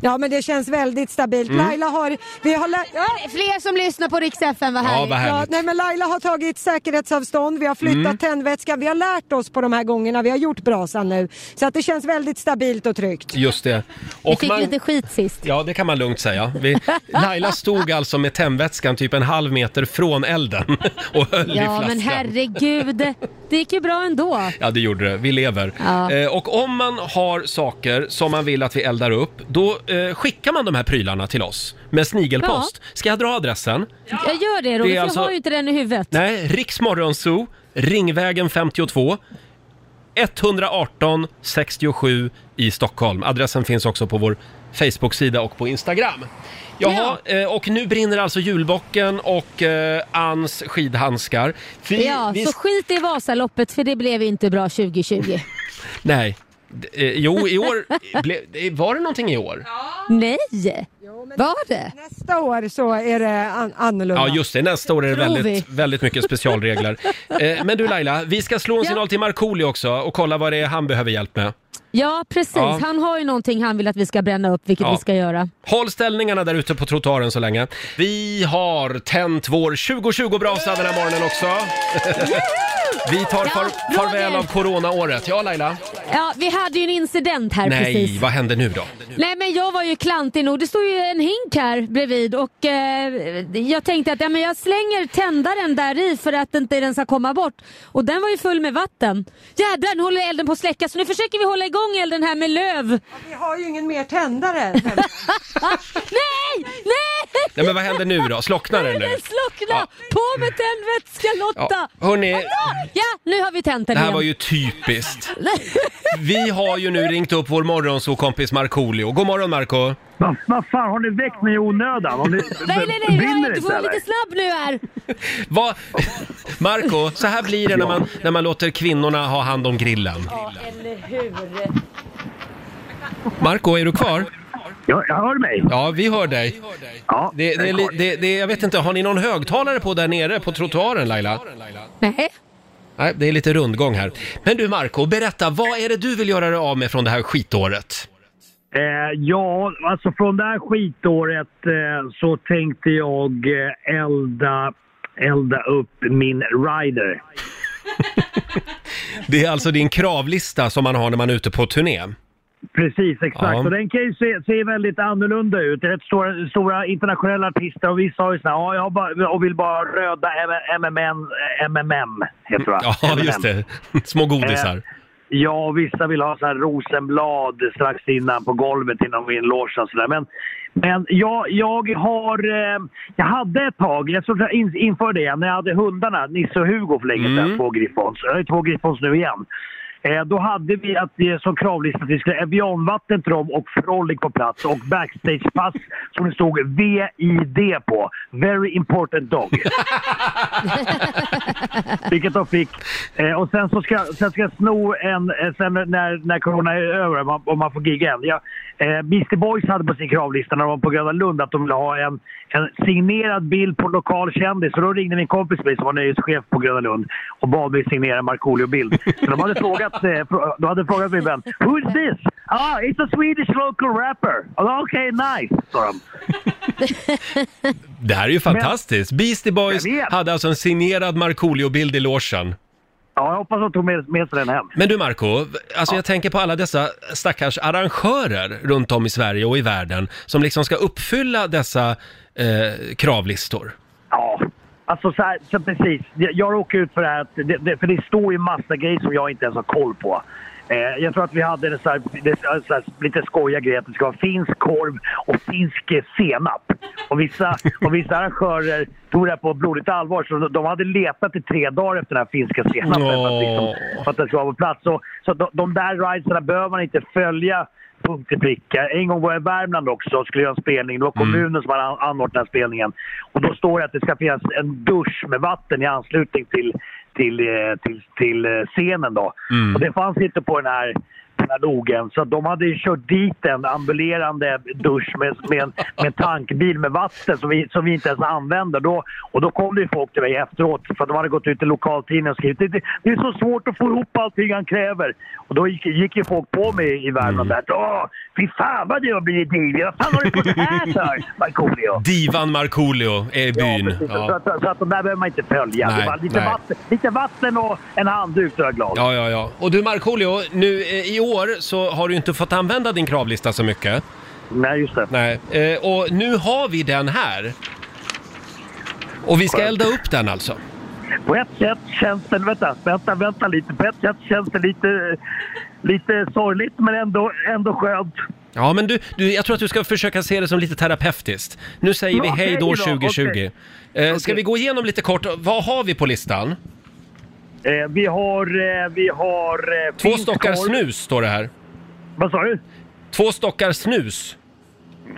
B: Ja, men det känns väldigt stabilt.
A: Mm.
B: Laila har... Vi har la- ja.
K: Fler som lyssnar på Rix FM, vad
A: Ja, härligt. vad härligt.
B: nej, men Laila har tagit säkerhetsavstånd, vi har flyttat
A: Mm.
B: tändvätskan, vi har lärt oss på de här gångerna vi har gjort brasan nu. Så att det känns väldigt stabilt och tryggt.
A: Just det.
K: Vi fick lite skit sist.
A: Ja, det kan man lugnt säga. Vi, Laila stod alltså med tändvätskan typ en halv meter från elden [laughs] och höll i
K: Ja,
A: flaskan.
K: men herregud. Det gick ju bra ändå.
A: Ja, det gjorde det. Vi lever.
K: Ja.
A: Eh, och om man har saker som man vill att vi eldar upp, då eh, skickar man de här prylarna till oss med snigelpost. Ska jag dra adressen?
K: Jag gör det, Roger,
A: Det är
K: för
A: alltså-
K: jag har ju inte den i huvudet.
A: Nej, Riksmorgonzoo, Ringvägen 52, 118 67 i Stockholm. Adressen finns också på vår Facebook-sida och på Instagram. Jaha, eh, och nu brinner alltså julbocken och eh, Anns skidhandskar. Vi-
K: ja,
A: vi-
K: så skit i Vasaloppet, för det blev inte bra 2020.
A: Nej. D- Eh, jo, i år... Ble,
K: [laughs]
A: eh, var det någonting i år?
K: Nej! Var det?
B: Nästa år så är det an- annorlunda.
A: Ja, just det. Nästa år är det
B: Tror
A: väldigt, väldigt mycket specialregler. Eh, men du Laila, vi ska slå en signal till Markoolio också och kolla vad det är han behöver hjälp med.
K: Ja, precis.
A: Ja.
K: Han har ju någonting han vill att vi ska bränna upp, vilket
A: Ja.
K: vi ska göra.
A: Håll ställningarna där ute på trottoaren så länge. Vi har tänt vår 2020-brasa den här morgonen också. Vi tar far, farväl av coronaåret. Ja, Laila?
K: Ja, vi hade ju en incident här
A: Nej,
K: precis.
A: vad händer nu då?
K: Nej, men jag var ju klantig nog. Det stod ju en hink här bredvid och eh, jag tänkte att ja, men jag slänger tändaren där i för att inte den ska komma bort. Och den var ju full med vatten. Jädrar, nu håller elden på att släckas så nu försöker vi hålla igång elden här med löv.
B: Vi har ju ingen
A: [laughs]
B: mer tändare.
K: Nej! Nej!
A: Nej, men vad händer nu då? Slocknar den nu?
K: Den slocknade! På med tändvätska Lotta!
A: Ja, hörni.
K: Hallå! Ja, nu har vi tänt den
A: Det här
K: igen.
A: var
K: [laughs]
A: ju typiskt. Vi har ju nu ringt upp vår morgonsåkompis Markoolio. God morgon Marco.
G: Vad vad fan, har ni väckt mig i onödan? Har ni,
K: Nej, nej, nej,
G: brinner
K: jag, du
G: inte,
K: får vara
G: eller?
K: lite snabb nu här.
A: Vad... [laughs] Marco, så här blir det när man, när man låter kvinnorna ha hand om grillen.
L: Ja, eller hur?
A: Marco, är du kvar?
G: Ja, jag hör mig.
A: Ja, vi hör dig.
G: Ja,
A: det, det, är li- det, det, jag vet inte, har ni någon högtalare på där nere på trottoaren Laila?
K: Nej.
A: Nej, det är lite rundgång här. Men du Marco, berätta, vad är det du vill göra dig av med från det här skitåret?
G: Eh, ja, alltså från det här skitåret eh, så tänkte jag eh, elda, elda upp min rider.
A: Det är alltså din kravlista som man har när man är ute på turné.
G: Precis, exakt.
A: Ja.
G: Och den kan ju se, se väldigt annorlunda ut. Det är rätt stora, stora internationella artister och vissa har ju såna här, ja, jag har bara, och vill bara ha röda MMM, MMM heter det va?
A: Ja, just det. Små godisar.
G: Eh, Ja, och vissa vill ha så här rosenblad strax innan på golvet innan vi är i logen och sådär. Men, men jag, jag har... Eh, jag hade ett tag, jag tror jag in, införde det igen, när jag hade hundarna, Nisse och Hugo för länge sedan, två griffons. Jag har ju två griffons nu igen. Eh, då hade vi att, eh, som kravlista att vi skulle ha Evianvatten till dem och Frolic på plats och backstagepass som det stod VID på. Very important dog. Vilket de fick. Eh, och sen så ska, sen ska jag sno en, eh, sen när, när corona är över, om man, om man får gigga än. Jag, eh, Beastie Boys hade på sin kravlista när de var på Gröna Lund att de ville ha en, en signerad bild på en lokal kändis. Så då ringde min kompis mig som var nöjeschef på Gröna Lund och bad mig signera en Markoolio-bild. Så de hade frågat, eh, frå- de hade frågat min vän “Who is this?” “Ah, it's a Swedish local rapper.” Ah, “Okej, nice”, sa de.
A: Det här är ju fantastiskt. Beastie Boys
G: Jag vet.
A: hade alltså en signerad Markoolio-bild i logen.
I: Ja, jag hoppas de tog med, med sig den hem.
A: Men du Marco, v- alltså jag tänker på alla dessa stackars arrangörer runt om i Sverige och i världen som liksom ska uppfylla dessa eh, kravlistor.
I: Ja, alltså så, här, så precis. Jag, jag råkade ut för det här, att det, det, för det står ju massa grejer som jag inte ens har koll på. Eh, jag tror att vi hade en så här, det, så här, lite skojiga grejer att det ska vara finsk korv och finsk eh, senap. Och vissa, och vissa arrangörer tog det här på blodigt allvar så de- de hade letat i tre dagar efter den här finska senapen för, att liksom, för att den skulle vara på plats. Så, så de, de där ridesarna behöver man inte följa punkt till pricka. En gång var jag i Värmland också och skulle göra en spelning. Det var kommunen som hade an- anordnat den här spelningen. Och då står det att det ska finnas en dusch med vatten i anslutning till, till, eh, till, till eh, scenen. Då.
E: Mm.
I: Och det fanns inte på den här den här logen. Så de hade ju kört dit en ambulerande dusch med, med, en, med en tankbil med vatten som vi, som vi inte ens använde. Då, och då kom det ju folk till mig efteråt för att de hade gått ut i lokaltidningen och skrivit det, det är så svårt att få ihop allting han kräver. Och då gick, gick ju folk på mig i Värmland där.
A: Mm.
I: Åh, fy fan vad du har blivit divig. Vad fan har du fått det
A: [laughs]
I: här för? Markoolio?
A: Divan Markoolio är i byn.
I: precis. Så,
A: Ja,
I: att, så att de där behöver man inte följa.
A: Nej,
I: det är bara lite,
A: nej.
I: vatten, lite vatten och en handduk så är jag glad.
A: ja, ja. ja. Och du Markoolio, nu eh, i år så har du inte fått använda din kravlista så mycket.
I: Nej, just det.
A: Nej. Eh, och nu har vi den här. Och vi ska elda upp den alltså.
I: På ett sätt känns det, vänta, vänta, vänta lite. På ett sätt känns det lite, lite sorgligt men ändå, ändå skönt.
A: Ja, men du, du, jag tror att du ska försöka se det som lite terapeutiskt. Nu säger vi
I: Ja,
A: hej då
I: okej då,
A: 2020.
I: okej.
A: Eh, ska vi gå igenom lite kort, vad har vi på listan?
I: Eh, vi har... Eh, vi har eh,
A: Två
I: finsk
A: stockar
I: korv.
A: snus står det här.
I: Vad sa du?
A: Två stockar snus.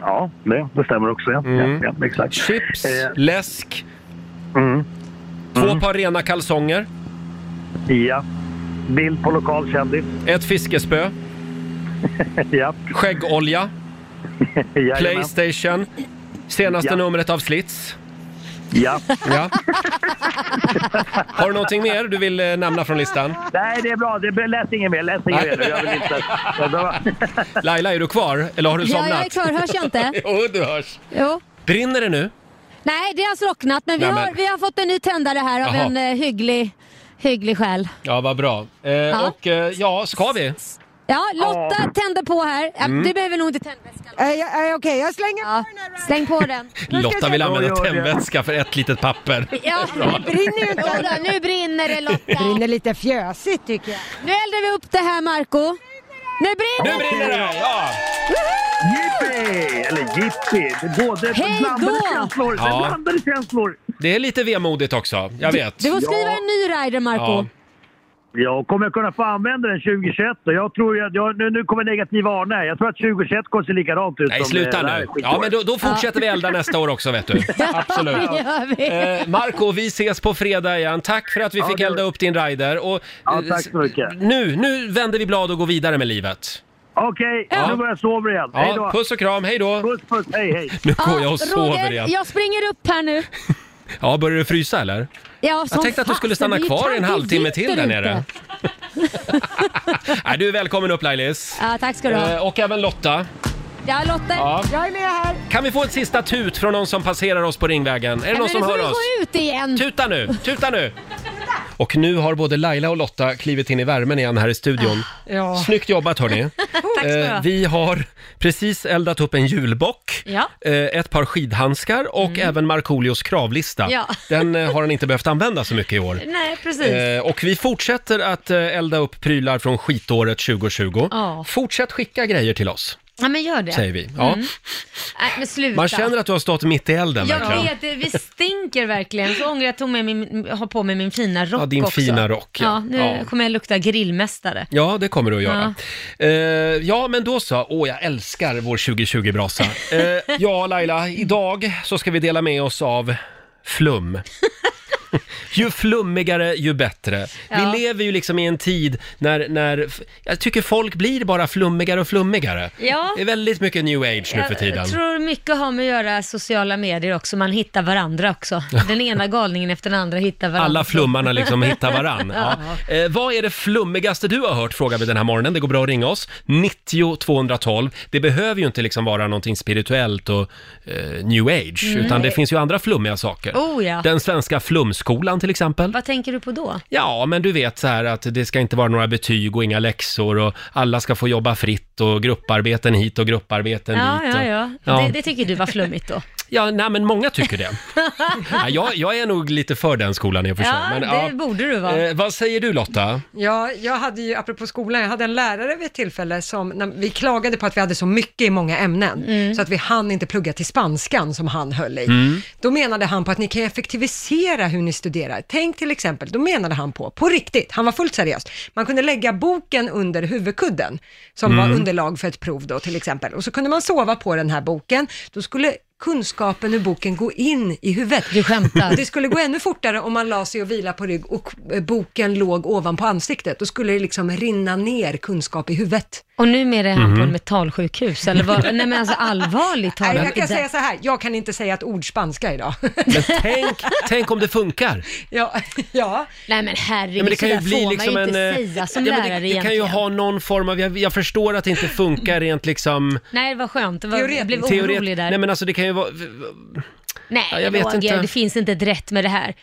I: Ja, det, det stämmer också. Ja.
A: Mm.
I: Ja, ja, exakt.
A: Chips,
I: Eh. Mm.
A: läsk. Två par rena kalsonger.
I: Ja. Bild på lokal kändis.
A: Ett fiskespö.
I: [laughs] ja.
A: Skäggolja.
I: [laughs] Jajamän.
A: Playstation. Senaste
I: Ja.
A: numret av Slits.
I: Ja.
A: ja. Har du någonting mer du vill eh, nämna från listan?
I: Nej, det är bra. Det blir- läs inget mer. Läs inget mer nu. Jag vill inte... Jag behöver-
A: Laila, är du kvar? Eller har du
K: Ja,
A: somnat?
K: jag är kvar. Hörs jag inte?
A: [laughs] jo, du hörs.
K: Jo.
A: Brinner det nu?
K: Nej, det har slocknat men vi,
A: Nej, men-
K: Har, vi har fått en ny tändare här av
A: Jaha.
K: en eh, hygglig, hygglig själ.
A: Ja, vad bra. Eh,
K: Ja.
A: Och eh, ja, ska vi?
K: Ja, Lotta tänder på här. Ja,
A: Mm.
K: Du behöver nog inte tändväskan. Äh, Okej, jag slänger på den här. Släng på den.
A: Lotta vill använda tändvätska för ett litet papper.
K: Ja,
A: Bra.
K: det brinner ju inte. Jodå, nu brinner det Lotta. Det brinner lite fjösigt tycker jag. Nu eldar vi upp det här Marco. Nu brinner det!
A: [laughs] Nu brinner det! Ja!
I: Jippi! Eller jippi. Det är både
K: Hej
I: blandade
K: då!
I: känslor. Det är
A: Ja.
I: blandade känslor.
A: Det är lite vemodigt också, jag vet.
K: Du får skriva en ny rider Marco.
A: Ja.
I: Ja, kommer jag kunna få använda den 2021 då? Jag tror jag, jag, nu, nu kommer negativa Arne. här. Jag tror att 2021 kommer se likadant ut
A: Nej,
I: som
A: sluta
I: det här
A: nu.
I: skitåret.
A: Ja, men då, då fortsätter vi elda nästa år också, vet [laughs] du. Absolut.
K: Det gör vi.
A: Eh, Marco, vi ses på fredag igen. Tack för att vi
I: Ja,
A: fick
I: det gör
A: elda
I: vi.
A: upp din rider. Och,
I: Ja,
A: eh,
I: tack så mycket.
A: Nu, nu vänder vi blad och går vidare med livet.
I: Okej,
A: Ja.
I: nu går jag och sover igen. Hej
A: Ja,
I: då.
A: puss och kram, hej då!
I: Puss, puss. Hej, hej.
A: Nu går jag och
K: Roger,
A: sover igen.
K: jag springer upp här nu.
A: Ja, börjar det frysa eller?
K: Ja, som
A: Jag tänkte att du
K: fasen,
A: skulle
K: det
A: stanna
K: är ju
A: kvar
K: kallt,
A: en
K: det är
A: halvtimme till där
K: vinter ute.
A: nere. Nej, du är välkommen upp Lailis.
K: Ja, tack ska du
A: Eh,
K: ha.
A: Och även Lotta.
K: Ja, Lotta,
A: Ja.
K: jag är med här.
A: Kan vi få ett sista tut från någon som passerar oss på Ringvägen? Är det
K: Nej,
A: någon
K: men
A: som
K: nu får
A: hör
K: du
A: oss? Typ.
K: gå ut igen.
A: Tuta nu, tuta nu! Och nu har både Laila och Lotta klivit in i värmen igen här i studion.
B: Ja.
A: Snyggt jobbat hörni!
C: Ah. [laughs] Tack ska du ha.
A: Eh, vi har precis eldat upp en julbock,
C: Ja. Mm.
A: eh, ett par skidhandskar och även Markoolios kravlista.
C: Ja.
A: Den eh, har han inte behövt använda så mycket i
C: [laughs]
A: år.
C: Nej, precis.
A: Eh, och vi fortsätter att eh, elda upp prylar från skitåret 2020.
C: Ja.
A: Fortsätt skicka grejer till oss,
C: Ja, men gör det.
A: säger vi. Ja.
C: Mm. Nej, men sluta.
A: Man känner att du har stått mitt i elden
C: jag
A: verkligen.
C: vet, det- vi stinker verkligen. Så ångrar jag att jag tog med min, har på mig min fina rock
A: Ja, din
C: också.
A: fina rock, ja.
C: Ja, nu
A: Ja.
C: kommer jag lukta grillmästare.
A: Ja, det kommer du att göra. Ja, ja men då så. Åh, jag älskar vår
C: [laughs]
A: 2020-brasa. Eh, ja, Laila, idag så ska vi dela med oss av flum.
C: [laughs]
A: ju flummigare, ju bättre.
C: Ja.
A: Vi lever ju liksom i en tid när, när... Jag tycker folk blir bara flummigare och flummigare.
C: Ja.
A: Det är väldigt mycket new age nu för tiden.
C: Jag tror mycket har med att göra sociala medier också, man hittar varandra också. Den ena galningen efter den andra hittar varandra.
A: Alla flummarna liksom hittar
C: [laughs]
A: varann. Ja. Eh, vad är det flummigaste du har hört, frågar vi den här morgonen. Det går bra att ringa oss. 90 212. Det behöver ju inte liksom vara någonting spirituellt och eh, new age,
C: Mm.
A: utan det finns ju andra flummiga saker.
C: Oh, ja.
A: Den svenska flumskolan skolan till exempel.
C: Vad tänker du på då?
A: Ja, men du vet så här att det ska inte vara några betyg och inga läxor och alla ska få jobba fritt och grupparbeten hit och grupparbeten
C: Ja,
A: dit.
C: ja,
A: Och,
C: ja.
A: Ja.
C: Det, det tycker du var
A: [laughs]
C: flummigt då.
A: Ja, nej, men många tycker
C: [laughs]
A: det. ja, jag, jag är nog lite för den skolan i och för sig.
B: Ja,
A: men,
B: det borde du vara.
A: Eh, vad säger du Lotta?
B: Ja, jag hade ju, apropå skolan, jag hade en lärare vid ett tillfälle som, när vi klagade på att vi hade så mycket i många ämnen, så att vi hann inte plugga till spanskan som han höll i.
E: Mm.
B: Då menade han på att ni kan effektivisera hur ni studerar. Tänk till exempel, då menade han på, på riktigt, han var fullt seriös, man kunde lägga boken under huvudkudden, som
E: Mm.
B: var underlag för ett prov då till exempel, och så kunde man sova på den här boken, då skulle kunskapen ur boken gå in i huvudet.
C: Du skämtar.
B: Det skulle gå ännu fortare om man la sig och vila på rygg och eh, boken låg ovanpå ansiktet. Då skulle det liksom rinna ner kunskap i huvudet.
C: Och numera är han på
B: Mhm.
C: en metallsjukhus,
A: [laughs]
C: eller vad? Nej men alltså allvarligt
B: Nej,
C: talat.
B: jag kan
C: Det-
B: säga så här, jag kan inte säga ett ord spanska idag.
A: Tänk, tänk om det funkar.
B: [laughs] ja, ja.
C: Nej men herregud,
A: Ja, men det kan ju
C: sådär
A: bli
C: får
A: liksom
C: man ju
A: en...
C: inte
A: eh,
C: säga som
A: ja, men
C: lärare
A: det, det kan ju
C: egentligen.
A: ha någon form av... Jag, jag förstår att det inte funkar rent liksom...
C: Nej, vad skönt. Det var, jag blev
A: teoret-
C: orolig där.
A: Nej men alltså det kan ju vara...
C: Nej,
A: Ja, jag vet
C: Roger,
A: inte.
C: det finns inte ett rätt med det här.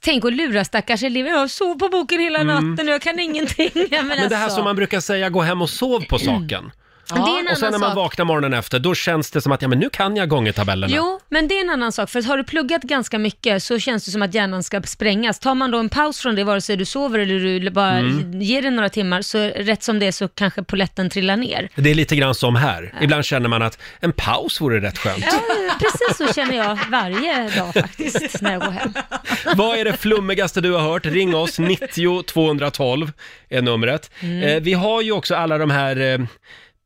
C: Tänk att lura stackars elever. Jag sov på boken hela
A: Mm.
C: natten och jag kan ingenting. [laughs] Ja, men
A: Men det här
C: alltså.
A: som man brukar säga, gå hem och sov på saken.
C: Ja. Det är en
A: och sen
C: annan
A: när man
C: sak.
A: vaknar morgonen efter, då känns det som att ja, men nu kan jag gångertabellerna.
C: Jo, men det är en annan sak. För har du pluggat ganska mycket så känns det som att hjärnan ska sprängas. Tar man då en paus från det, vare sig du sover eller du bara
A: Mm.
C: ger det några timmar, så rätt som det är så kanske poletten
A: [laughs]
C: trillar ner.
A: Det är lite grann som här. Ibland känner man att en paus vore rätt skönt.
C: Ja, precis så känner jag varje dag faktiskt när jag går hem.
A: Vad är det flummigaste du har hört? Ring oss, 90 212 är numret.
C: Mm.
A: Eh, vi har ju också alla de här eh,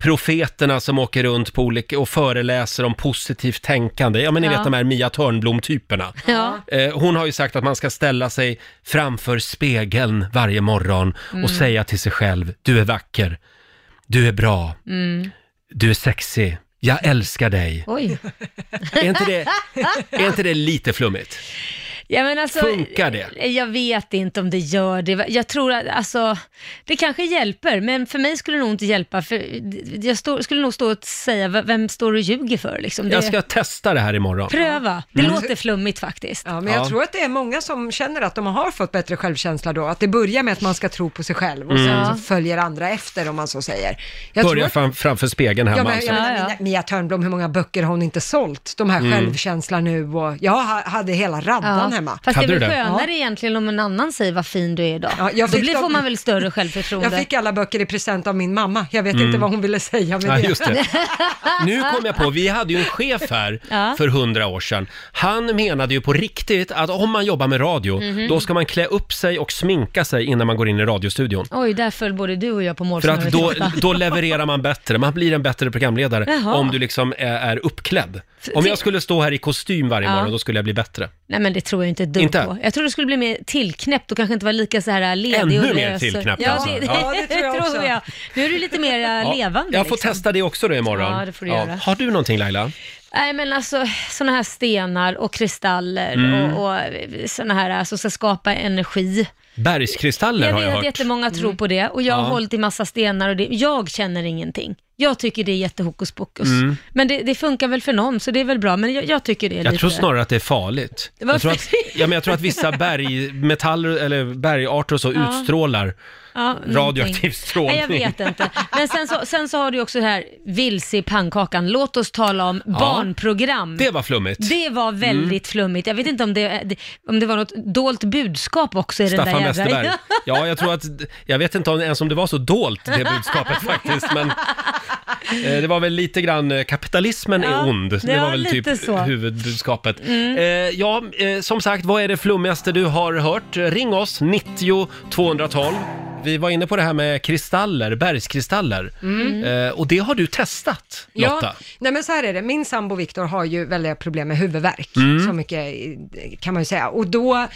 A: profeterna som åker runt på olika och föreläser om positivt tänkande. Ja, men ni
C: Ja.
A: vet de här Mia Törnblom-typerna.
C: Ja.
A: Eh, hon har ju sagt att man ska ställa sig framför spegeln varje morgon
C: Mm.
A: och säga till sig själv, du är vacker, du är bra,
C: Mm.
A: du är sexig, jag älskar dig.
C: Oj.
A: Är inte
C: [laughs]
A: det- Är inte det lite flummigt?
C: Ja, men alltså,
A: Funkar det?
C: Jag vet inte om det gör det. Jag tror att, alltså, det kanske hjälper, men för mig skulle det nog inte hjälpa. För jag stå, skulle nog stå och säga, "V- vem står du och ljuger för? Liksom. Det,
A: Jag ska testa det här imorgon.
C: Pröva. Det
A: Mm.
C: låter flummigt faktiskt.
B: Ja, men jag
A: Ja.
B: tror att det är många som känner att de har fått bättre självkänsla då, att det börjar med att man ska tro på sig själv och sen
A: Mm.
B: så följer andra efter om man så säger. Jag tror
A: Börja
B: att-
A: fram, framför spegeln hemma.
B: Ja, men,
A: alltså.
B: jag menar, Mia- Mia Törnblom, hur många böcker har hon inte sålt? De här
A: Mm.
B: självkänslan nu och jag ha- hade hela raddan hemma.
C: Fast det är väl skönare egentligen om en annan säger vad fin du är idag.
B: jag
C: Då
B: fick
C: blir,
B: dem-
C: får man väl större självförtroende.
B: Jag fick alla böcker i present av min mamma. Jag vet
A: Mm.
B: inte vad hon ville säga med
A: Ja,
B: det.
A: just
C: [laughs]
A: det. Nu kom jag på, vi hade ju en chef här
B: Ja.
A: för hundra år sedan. Han menade ju på riktigt att om man jobbar med radio,
C: Mhm.
A: då ska man klä upp sig och sminka sig innan man går in i radiostudion.
C: Oj, där föll både du och jag på
A: För att
C: målsnöret.
A: då,
C: Lotta.
A: då levererar man bättre, man blir en bättre programledare
C: Jaha.
A: om du liksom är, är uppklädd.
C: För-
A: Om jag skulle stå här i kostym varje
C: Ja.
A: morgon, då skulle jag bli bättre.
C: Nej men det tror jag inte ett dugg
A: Inte?
C: på. Jag tror det skulle bli mer tillknäppt och kanske inte vara lika så här eh, ledig
A: Ännu
C: och
A: mer
C: lös.
A: tillknäppt,
C: ja,
A: alltså.
C: det,
A: Ja,
C: [laughs] det tror jag,
E: också.
C: Nu är du lite mer
A: Ja,
C: eh, levande.
A: jag får
C: liksom.
A: testa det också då imorgon.
C: Ja, det får du göra.
A: Har du någonting Laila?
C: Nej men alltså sådana här stenar och kristaller
A: Mm.
C: och, och sådana här alltså, ska skapa energi.
A: Bergskristaller
C: jag
A: har jag
C: vet
A: hört. Mm.
C: att jättemånga tror på det och jag har
A: Ja.
C: hållit i massa stenar och det, jag känner ingenting. Jag tycker det är jättehokus pokus.
A: Mm.
C: Men det, det funkar väl för någon så det är väl bra, men jag, jag tycker det är lite...
A: Jag tror snarare att det är farligt.
C: Varför?
A: Jag tror att, ja, men jag tror att vissa bergmetaller eller bergarter och så
C: Ja.
A: utstrålar
C: Ja,
A: radioaktiv
C: någonting.
A: strålning.
C: Nej, jag vet inte. Men sen så, sen så har du ju också det här vilse i pannkakan. Låt oss tala om
A: Ja.
C: barnprogram.
A: Det var flummigt.
C: Det var väldigt flummigt. Jag vet inte om det, det- om det var något dolt budskap också i den
A: Staffan
C: där jädra-
A: Westerberg. Ja, jag tror att, jag vet inte om, ens om det var så dolt det budskapet faktiskt, men eh, det var väl lite grann, eh, kapitalismen
C: Ja,
A: är ond. Det
C: ja,
A: var väl
C: lite
A: typ
C: så.
A: huvudbudskapet.
C: Mm.
A: Eh, ja, eh, som sagt, vad är det flummigaste du har hört? Ring oss, 90 212. Vi var inne på det här med kristaller, bergskristaller.
B: Mm.
A: Eh, och det har du testat, Lotta.
B: Ja, nej men så här är det. Min sambo Viktor har ju väldiga problem med huvudvärk,
A: Mm.
B: så mycket eh, kan man ju säga. Och då,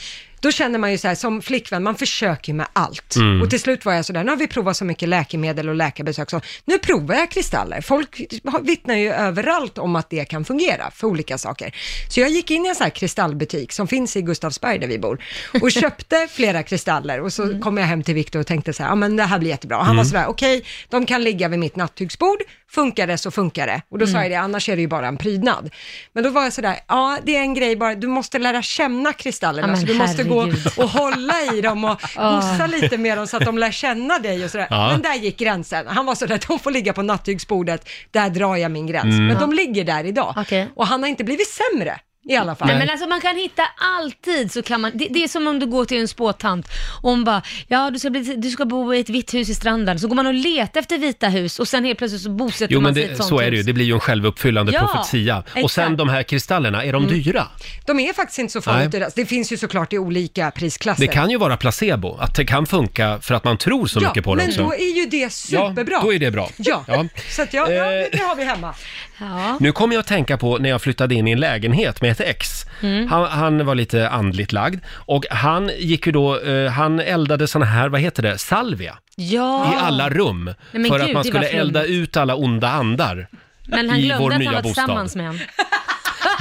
B: då känner man ju så här, som flickvän, man försöker ju med allt.
E: Mm.
B: Och till slut var jag så där, nu har vi provat så mycket läkemedel och läkarbesök, så nu provar jag kristaller. Folk har- vittnar ju överallt om att det kan fungera för olika saker. Så jag gick in i en sån här kristallbutik som finns i Gustavsberg där vi bor och köpte flera kristaller och så kom jag hem till Viktor och tänkte så här, ja men det här blir jättebra. Och han var
E: Mm.
B: så där, okej, de kan ligga vid mitt nattduksbord, funkar det så funkar det. Och då sa
E: Mm.
B: jag det, annars är det ju bara en prydnad. Men då var jag sådär, ja det är en grej bara, du måste lära känna
C: Ja,
B: kristallerna,
C: men
B: så du måste gå
C: Herregud.
B: och hålla i dem och
C: Ah.
B: gossa lite med dem så att de lär känna dig och sådär.
A: Ja.
B: Men där gick gränsen. Han var sådär, de får ligga på nattduksbordet, där drar jag min gräns.
A: Mm.
B: Men de
A: Ja.
B: ligger där idag. Och han har inte blivit sämre i alla fall.
C: [laughs] Nej, men alltså man kan hitta alltid så kan man, det, det är som om du går till en spåtant och hon bara, ja du ska, bli, du ska bo i ett vitt hus i stranden, så går man och letar efter vita hus och sen helt plötsligt så bosätter
A: Jo,
C: man
A: men
C: sig i ett
A: det,
C: sånt
A: så är det ju.
C: hus.
A: Det blir ju en självuppfyllande
C: Ja,
A: profetia. Och sen
B: exakt.
A: de här kristallerna, är de
B: Mm.
A: dyra?
B: De är faktiskt inte så
A: Nej.
B: farligt dyra. Det finns ju såklart i olika prisklasser.
A: Det kan ju vara placebo, att det kan funka för att man tror så mycket på det
B: men
A: också.
B: då är ju det superbra.
A: Ja, då är det bra.
B: Ja,
A: Ja. Eh,
B: så att ja, ja, det har vi hemma.
C: Ja.
A: Nu kommer jag att tänka på när jag flyttade in i en lägenhet med ett ex.
B: Mm.
A: Han, han var lite andligt lagd och han gick ju då, eh, han eldade såna här, vad heter det, salvia
C: Ja.
A: i alla rum.
C: Ah. men
A: för
C: gud,
A: att man
C: det
A: skulle
C: var flum.
A: elda ut alla onda andar
C: Men han
A: i
C: glömde
A: vår
C: att
A: nya
C: han var
A: bostad.
C: tillsammans med en.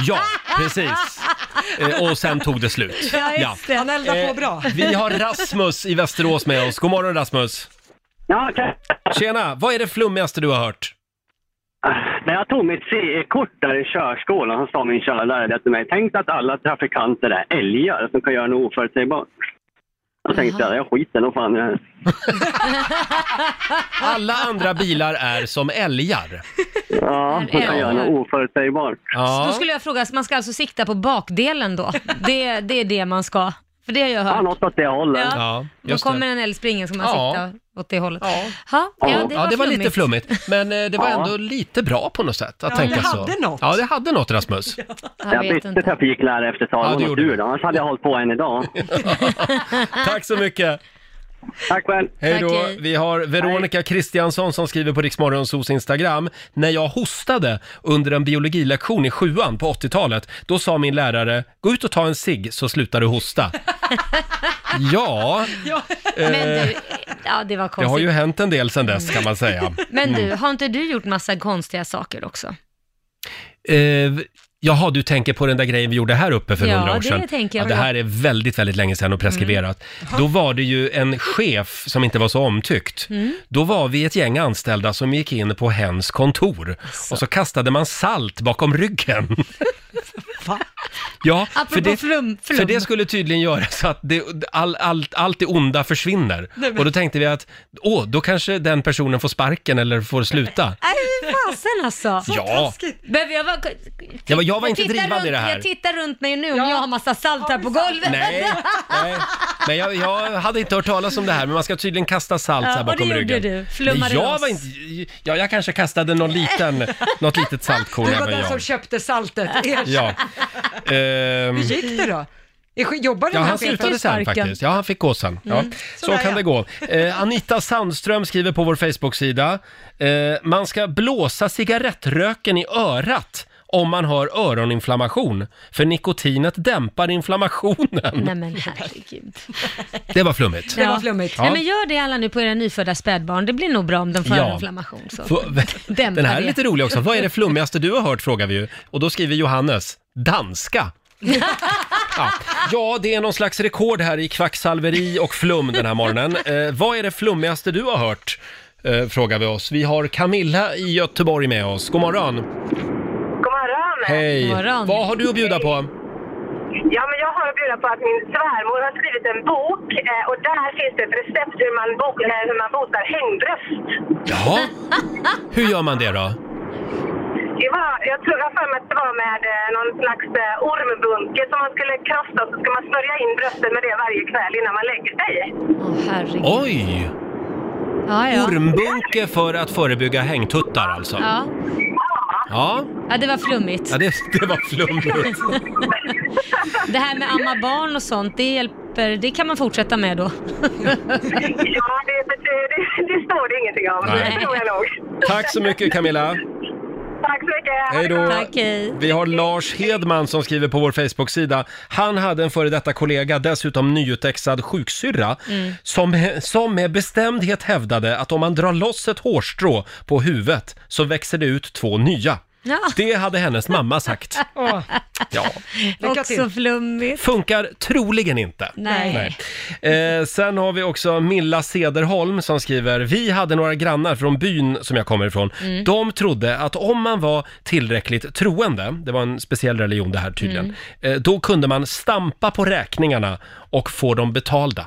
A: Ja, precis. Eh, Och sen tog det slut.
B: Han eldar
A: Eh,
B: på bra.
A: Vi har Rasmus i Västerås med oss. God morgon Rasmus!
M: Ja, okej.
A: Tjena! Vad är det flummigaste du har hört?
M: När jag tog mitt C-kort där i körskolan så sa min körlärare det till mig. Tänk att alla trafikanter är älgar som kan göra något oförutsägbart. Då tänkte jag, jag skiter nog fan i det här.
A: Alla andra bilar är som älgar.
M: Ja, som kan göra
C: Älgar.
M: något oförutsägbart.
C: Då skulle jag fråga, man ska alltså sikta på bakdelen då? Det, det är det man ska. För det har jag hört.
M: Ja, något åt det hållet.
C: Ja. Då kommer en älgspringen som man
A: Ja.
C: siktar åt det hållet. Ja, ha, ja, det, var
A: ja, det var lite flummigt, men eh, det var
C: Ja.
A: ändå lite bra på något sätt att
C: Ja,
A: tänka
C: det
A: så.
C: hade något.
A: Ja, det hade något Rasmus.
M: Jag, bytte trafiklärare efter ett tag.
A: Ja,
M: Ja,
A: det gjorde
M: du då. Annars hade jag hållit på än idag.
A: [laughs] Tack så mycket.
M: Tack själv.
A: Hej
M: Tack,
A: då.
M: hej.
A: Vi har Veronica Kristiansson som skriver på Riksmorgonsos Instagram. När jag hostade under en biologilektion i sjuan på 80-talet, då sa min lärare, gå ut och ta en cigg så slutar du
C: [laughs]
A: hosta. ja,
C: Men du,
A: eh,
C: ja, det var
A: det
C: konstigt.
A: har ju hänt en del sedan dess kan man säga.
C: Men
A: Mm.
C: du, har inte du gjort massa konstiga saker också?
A: Eh, jaha, du tänker på den där grejen vi gjorde här uppe för
C: Ja,
A: hundra år
C: det
A: sedan.
C: tänker jag Mm.
A: det
C: på.
A: här är väldigt, väldigt länge sedan och preskriberat. Då var det ju en chef som inte var så omtyckt.
E: Mm.
A: Då var vi ett gäng anställda som gick in på hens kontor och så kastade man salt bakom ryggen.
C: [laughs]
A: Va? Ja, för
C: Apropå
A: det,
C: flum- flum.
A: för det skulle tydligen göra så att det, all, all, allt det onda försvinner.
C: Nej, men-
A: Och då tänkte vi att, åh, då kanske den personen får sparken eller får sluta.
C: Nej, fy fasen
A: Så
C: alltså.
A: Ja. taskigt.
C: Behöver jag vara...
A: Jag var, jag var inte
C: tittar
A: drivande
C: runt,
A: i det här.
C: Jag tittar runt mig nu om jag har massa salt här på golvet.
A: Nej, nej. Men jag, jag hade inte hört talas om det här, men man ska tydligen kasta salt
C: Ja,
A: så här
C: och
A: bakom
C: det gjorde
A: ryggen.
C: du.
A: Nej,
C: Flummade
A: jag
C: loss.
A: var inte, ja, jag kanske kastade någon liten, något litet
B: [laughs]
A: saltkorn
B: Du var
A: även
B: den som
A: jag.
B: köpte saltet. Erkänn.
A: Ja. Ehm,
B: Hur gick det då? Jobbade
A: ja,
B: den här
A: han
B: chefen?
A: slutade sen faktiskt. Ja, han fick gå sen. Ja.
B: Mm.
A: Så
B: Sådär,
A: kan
B: ja.
A: det gå. Eh, Anita Sandström skriver på vår Facebook-sida. Eh, man ska blåsa cigarettröken i örat om man har öroninflammation, för nikotinet dämpar inflammationen.
C: Nej men herregud.
A: Det var flummigt.
C: Ja. Nej, men gör det alla nu på era nyfödda spädbarn. Det blir nog bra om de får
A: Ja.
C: inflammation. Så. [laughs]
A: Få-
C: Dämpa
A: Den här är
C: det.
A: lite rolig också. Vad är det flummigaste du har hört frågar vi ju. Och då skriver Johannes, danska. Ja. ja, det är någon slags rekord här i kvacksalveri och flum den här morgonen. Eh, vad är det flummigaste du har hört? Eh, frågar vi oss. Vi har Camilla i Göteborg med oss. God morgon!
N: God morgon!
A: Hej! Vad har du att bjuda på?
N: Ja, men jag har att bjuda på att min svärmor har skrivit en bok eh, och där finns det ett recept hur man, bok, eh, hur man botar hängbröst.
A: Jaha, hur gör man det då?
N: Det var, jag tror jag har för mig att det var med eh, någon slags eh, ormbunke som man skulle krossa och så ska man smörja in bröstet med det varje kväll innan man lägger sig.
A: Oj!
C: Ja, ja.
A: Ormbunke för att förebygga hängtuttar alltså.
C: Ja.
A: Ja,
C: ja, det var flummigt.
A: ja det, det var flummigt.
C: Det här med amma barn och sånt, det hjälper. Det kan man fortsätta med då.
N: ja, det, det, det, det står det ingenting om.
A: Nej.
N: Det tror jag nog.
A: Tack så mycket Camilla!
N: Tack så mycket! Ha
A: Hej
N: det
A: då!
N: bra.
A: Vi har Lars Hedman som skriver på vår Facebook-sida. Han hade en före detta kollega, dessutom nyutexad sjuksyrra,
E: Mm.
A: som, som med bestämdhet hävdade att om man drar loss ett hårstrå på huvudet så växer det ut två nya. Det hade hennes mamma sagt. Ja.
C: Också flummigt.
A: Funkar troligen inte.
C: Nej.
A: Nej. Eh, sen har vi också Milla Sederholm som skriver, vi hade några grannar från byn som jag kommer ifrån.
O: Mm.
A: De trodde att om man var tillräckligt troende, det var en speciell religion det här tydligen,
C: Mm.
A: eh, då kunde man stampa på räkningarna och få dem betalda.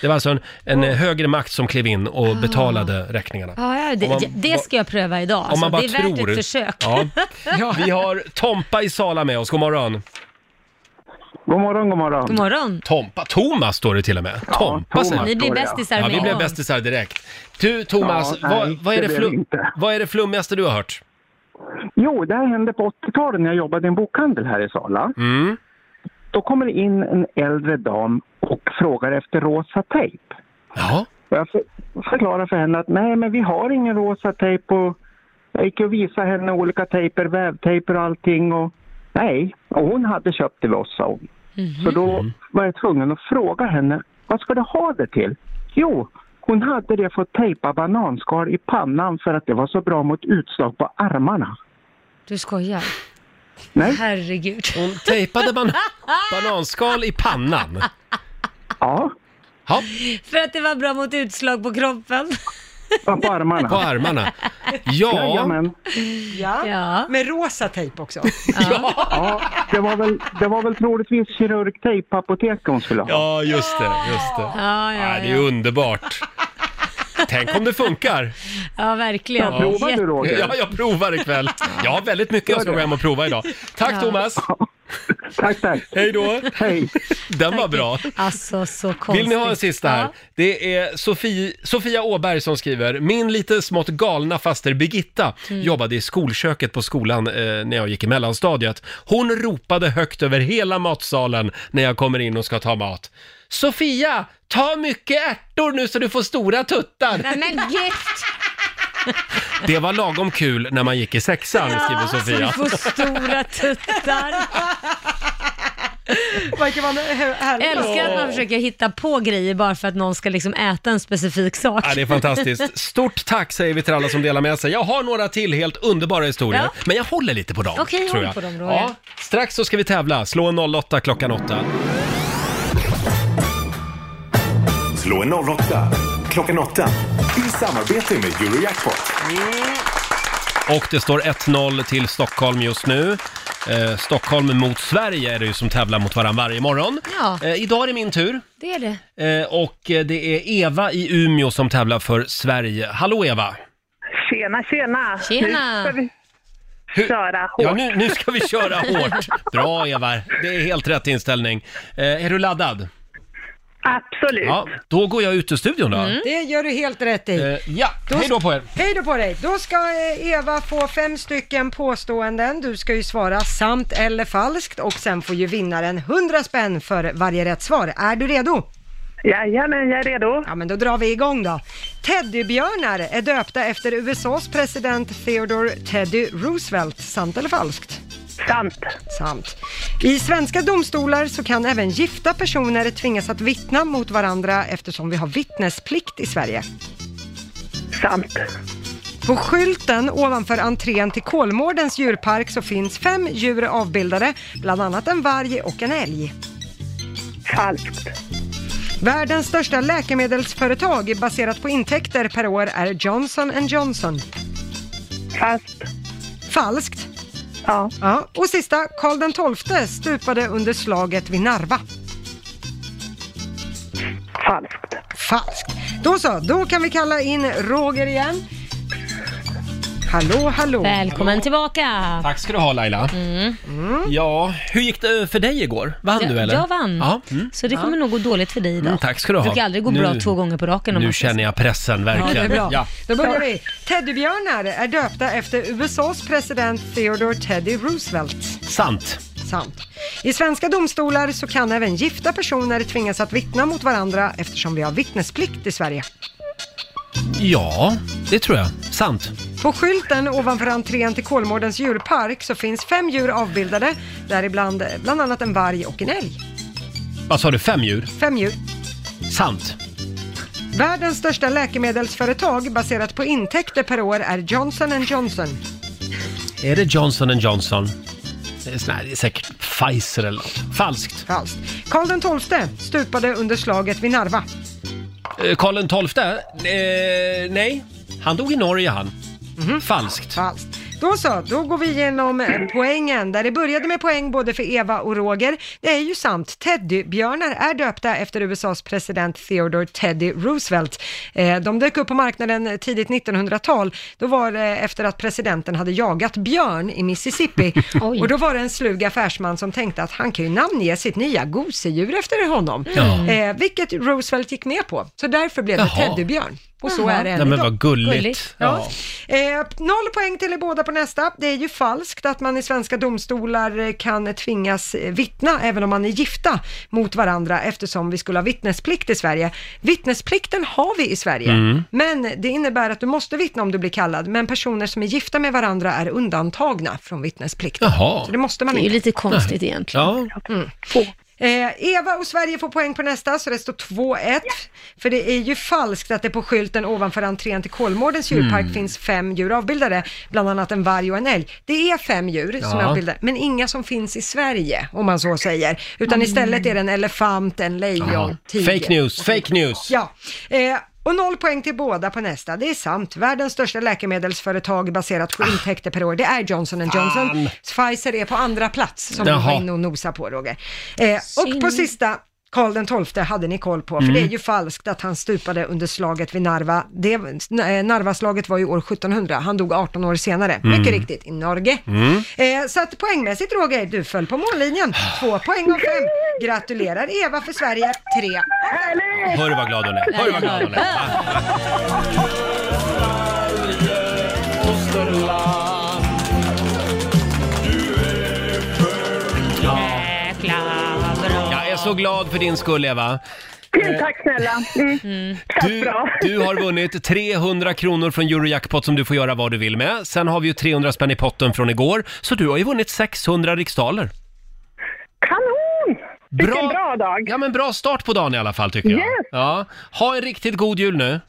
A: Det var alltså en, en eh, högre makt som klev in
C: Ah.
A: och betalade räkningarna.
C: Ja, ja, det,
A: Om man-
C: det ska jag pröva idag.
A: om
C: Ah, Alltså,
A: man bara
C: det är
A: tror.
C: värt ett försök. [laughs]
A: Ja. Vi har Tompa i Sala med oss, god morgon.
G: God morgon, god morgon.
C: God morgon.
A: Tompa, Thomas står det till och med. Tompa
C: Thomas
A: säger
C: Ni blir står det, ja. bästisar
A: Ja,
C: med
A: vi blev
C: en gång.
A: bästisar direkt. Du Thomas,
G: Ja,
A: vad,
G: nej,
A: vad, är det
G: det blev det
A: flum, vad är det flummigaste du har hört?
G: Jo, det här hände på 80-talet när jag jobbade i en bokhandel här i Sala.
A: Mm.
G: Då kommer det in en äldre dam och frågar efter rosa tejp.
A: Ja.
G: Jag för- förklarar för henne att nej, men vi har ingen rosa tejp. Och jag gick och visade henne olika tejper, vävtejper och allting. Och nej, och hon hade köpt det loss, sa hon.
A: Mhm.
G: Så då var jag tvungen att fråga henne, vad ska du ha det till? Jo, hon hade det för att tejpa bananskal i pannan för att det var så bra mot utslag på armarna.
C: Du skojar.
G: Nej.
C: Herregud.
A: Hon tejpade
G: [laughs]
A: ban bananskal i pannan.
G: Ja.
A: Ja.
C: För att det var bra mot utslag på kroppen.
A: [laughs]
G: På armarna.
A: På armarna. Ja.
B: Ja. Med rosa tejp också.
G: Ja, det var väl, det var väl troligtvis kirurgtejp på apoteket hon skulle ha.
A: Ja, just det. Just det.
C: Ja, ja,
A: Nej, det är ju underbart. Tänk om det funkar.
C: ja verkligen.
A: Ja. Ja, jag provar ikväll. Jag har väldigt mycket jag ska gå hem och prova idag. Tack
C: Ja.
A: Thomas!
G: Tack, tack!
A: Hej då!
G: Hej!
A: Den var bra.
C: Alltså så konstigt.
A: Vill ni ha en sista här?
C: Ja.
A: Det är Sofie, Sofia Åberg som skriver. Min lite smått galna faster Birgitta
C: Mm.
A: jobbade i skolköket på skolan eh, när jag gick i mellanstadiet. Hon ropade högt över hela matsalen när jag kommer in och ska ta mat. Sofia, ta mycket ärtor nu så du får stora
C: [laughs]
A: tuttar!
C: Nej men gift!
A: Det var lagom kul när man gick i sexan, skriver
C: Så
A: Sofia.
C: du Alltså, får stora tuttar. Älskar att man försöker hitta på grejer bara för att någon ska liksom äta en specifik sak.
A: Ja, det är fantastiskt. Stort tack säger vi till alla som delar med sig. Jag har några till helt underbara historier,
C: Ja.
A: men jag håller lite på dem.
C: Okej, håll
A: tror jag.
C: på dem, Roger.
A: ja, Strax så ska vi tävla. Slå en 08 klockan 8.
E: Slå en 08 klockan 8 i samarbete med Eurojackpot.
A: Och det står 1-0 till Stockholm just nu. Eh, Stockholm mot Sverige är det ju som tävlar mot varandra varje morgon.
C: Ja.
A: Eh, idag är det min tur.
C: Det är det.
A: Eh, och eh, det är Eva i Umeå som tävlar för Sverige. Hallå Eva!
I: Tjena, tjena!
C: Tjena.
I: Nu ska vi köra hårt.
A: Ja, nu, nu ska vi köra
C: [laughs]
A: hårt. Bra Eva, det är helt rätt inställning. Eh, är du laddad?
I: Absolut.
A: Ja, då går jag ut ur studion då.
C: Mm.
B: Det gör du helt rätt i.
A: Eh, ja, hej då på er.
B: Hej då på dig! Då ska eh, Eva få fem stycken påståenden. Du ska ju svara sant eller falskt och sen får ju vinnaren 100 spänn för varje rätt svar. Är du redo?
I: Jajamän, jag är redo.
B: Ja, men då drar vi igång då. Teddybjörnar är döpta efter USAs president Theodore Teddy Roosevelt. Sant eller falskt?
I: Sant.
B: Sant. I svenska domstolar så kan även gifta personer tvingas att vittna mot varandra eftersom vi har vittnesplikt i Sverige.
I: Sant.
B: På skylten ovanför entrén till Kolmårdens djurpark så finns fem djur avbildade, bland annat en varg och en älg.
I: Falskt.
B: Världens största läkemedelsföretag baserat på intäkter per år är Johnson Johnson.
I: Falskt.
B: Falskt?
I: Ja.
B: ja. Och sista, Karl XII stupade under slaget vid Narva.
I: Falskt.
B: Falskt. Då så, då kan vi kalla in Roger igen. Hallå, hallå.
C: Välkommen tillbaka.
A: Tack ska du ha Laila.
C: Mm.
A: Ja, hur gick det för dig igår? Vann
C: Jag-
A: du eller?
C: jag vann.
A: Ja. Mm.
C: Så det kommer nog gå dåligt för dig idag.
A: Mm, tack ska du ha.
C: Det brukar aldrig gå
A: Nu-
C: bra två gånger på raken. Om
A: Nu
C: man säger så.
A: känner jag pressen verkligen.
B: Ja, det är bra.
A: Ja.
B: Då börjar vi. Teddybjörnar är döpta efter USAs president Theodore Teddy Roosevelt.
A: Sant.
B: Sant. I svenska domstolar så kan även gifta personer tvingas att vittna mot varandra eftersom vi har vittnesplikt i Sverige.
A: ja, det tror jag. Sant.
B: På skylten ovanför entrén till Kolmårdens djurpark så finns fem djur avbildade, däribland eh, bland annat en varg och en älg.
A: Vad sa du, fem djur?
B: Fem djur.
A: Sant.
B: Världens största läkemedelsföretag baserat på intäkter per år är Johnson Johnson.
A: Är det Johnson Johnson? Det är, sån här, det är säkert Pfizer eller något. Falskt.
B: Falskt. Karl XII stupade under slaget vid Narva.
A: Eh, Karl XII? Eh, nej, han dog i Norge han. Falskt.
B: Falskt. Då så, då går vi igenom eh, poängen. Där det började med poäng både för Eva och Roger. Det är ju sant, teddybjörnar är döpta efter USAs president Theodore Teddy Roosevelt. Eh, De dök upp på marknaden tidigt 1900-tal. Då var det efter att presidenten hade jagat björn i Mississippi.
A: [laughs]
C: Oj.
B: och då var det en slug affärsman som tänkte att han kan ju namnge sitt nya gosedjur efter honom.
A: Ja.
B: Eh, vilket Roosevelt gick med på. Så därför blev det
A: Jaha.
B: teddybjörn. Och så
A: Jaha.
B: är det än
A: Nej, men
B: idag.
A: vad gulligt. Gulligt.
B: Ja. Eh, noll poäng till er båda på nästa. Det är ju falskt att man i svenska domstolar eh, kan tvingas eh, vittna även om man är gifta mot varandra eftersom vi skulle ha vittnesplikt i Sverige. Vittnesplikten har vi i Sverige,
E: Mm.
B: men det innebär att du måste vittna om du blir kallad. Men personer som är gifta med varandra är undantagna från vittnesplikten.
A: Jaha.
B: Så det måste man
C: Det är ju
B: inte.
C: lite konstigt Nej. egentligen.
A: Ja.
B: Mm. Eh, Eva och Sverige får poäng på nästa, så det står 2-1. För det är ju falskt att det på skylten ovanför entrén till Kolmårdens djurpark
C: Mm.
B: finns fem djur avbildade, bland annat en varg och en älg. Det är fem djur som är
C: Ja.
B: avbildade, men inga som finns i Sverige, om man så säger. Utan
A: Mm.
B: istället är det en elefant, en lejon,
A: Jaha.
B: tiger.
A: Fake news, fake news.
B: Ja, eh, och noll poäng till båda på nästa. Det är sant. Världens största läkemedelsföretag baserat på
E: Ah.
B: intäkter per år, det är Johnson Johnson. Pfizer är på andra plats som
E: Jaha.
B: du var inne och nosade på Roger. Eh, och på
E: Synd.
B: sista, Karl den XII hade ni koll på, för
E: Mm.
B: det är ju falskt att han stupade under slaget vid Narva. Det, eh, Narvaslaget var ju år 1700, han dog 18 år senare.
E: Mm.
B: Mycket riktigt, i Norge.
E: Mm.
B: Eh, så att poängmässigt Roger, du föll på mållinjen. Två poäng av fem. Gratulerar Eva för Sverige, tre av fem.
A: Hör du vad glad hon är? Hör du vad glad hon är? Jag är så glad för din skull Eva.
P: Tack snälla. Mm.
A: Du, du har vunnit 300 kronor från Eurojackpot som du får göra vad du vill med. Sen har vi ju 300 spänn i potten från igår, så du har ju vunnit 600 riksdaler.
P: Kanon! Vilken
A: Bra.
P: bra dag.
A: Ja, men bra start på dagen i alla fall tycker jag.
P: Yes.
A: Ja. Ha en riktigt god jul nu.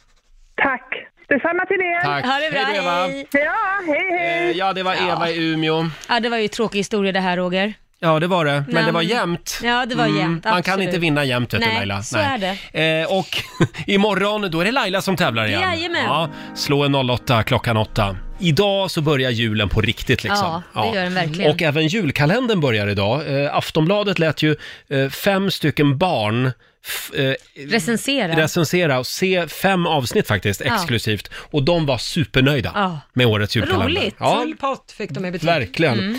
P: Tack. Detsamma till er.
A: Tack. Ha det bra, Hej då, Eva. hej.
P: Ja, hej, hej.
A: Ja, det var Eva i Umeå.
C: Ja, det var ju en tråkig historia det här Roger.
A: Ja, det var det. Men
C: Nej,
A: det var jämnt. Mm.
C: Ja, det var jämnt,
A: Man kan
C: absolut.
A: inte vinna jämnt, vet du,
C: Nej,
A: Laila.
C: så är
A: det. Eh, och [laughs] imorgon, då är det Laila som tävlar igen.
C: Jajamän.
A: Ja, slå en 08 klockan 8. Idag så börjar julen på riktigt liksom.
C: Ja, det gör den verkligen.
A: Och även julkalendern börjar idag. Eh, Aftonbladet lät ju eh, fem stycken barn f- eh,
C: Recensera.
A: recensera och se fem avsnitt faktiskt
C: Ja.
A: exklusivt. Och de var supernöjda
C: Ja.
A: med årets julkalender.
B: Roligt!
A: Ja.
B: Full pott fick de i betyg.
A: Verkligen.
B: Mm.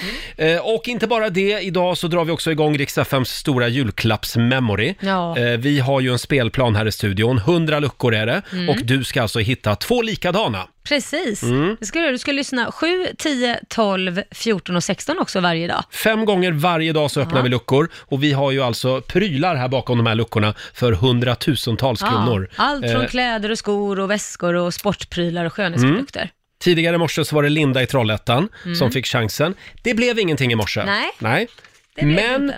A: Eh, och inte bara det, idag så drar vi också igång Rix FMs stora julklappsmemory.
E: Ja.
A: Eh, vi har ju en spelplan här i studion, 100 luckor är det.
C: Mm.
A: Och du ska alltså hitta två likadana.
C: Precis.
A: Mm.
C: Det ska du, du ska lyssna 7, 10, 12, 14 och 16 också varje dag.
A: Fem gånger varje dag så öppnar
C: Ja.
A: vi luckor och vi har ju alltså prylar här bakom de här luckorna för hundratusentals kronor.
C: Ja, allt från
A: Eh,
C: kläder och skor och väskor och sportprylar och skönhetsprodukter.
A: Mm. Tidigare i morse så var det Linda i Trollhättan
C: Mm.
A: som fick chansen. Det blev ingenting i morse.
C: Nej.
A: Nej. Men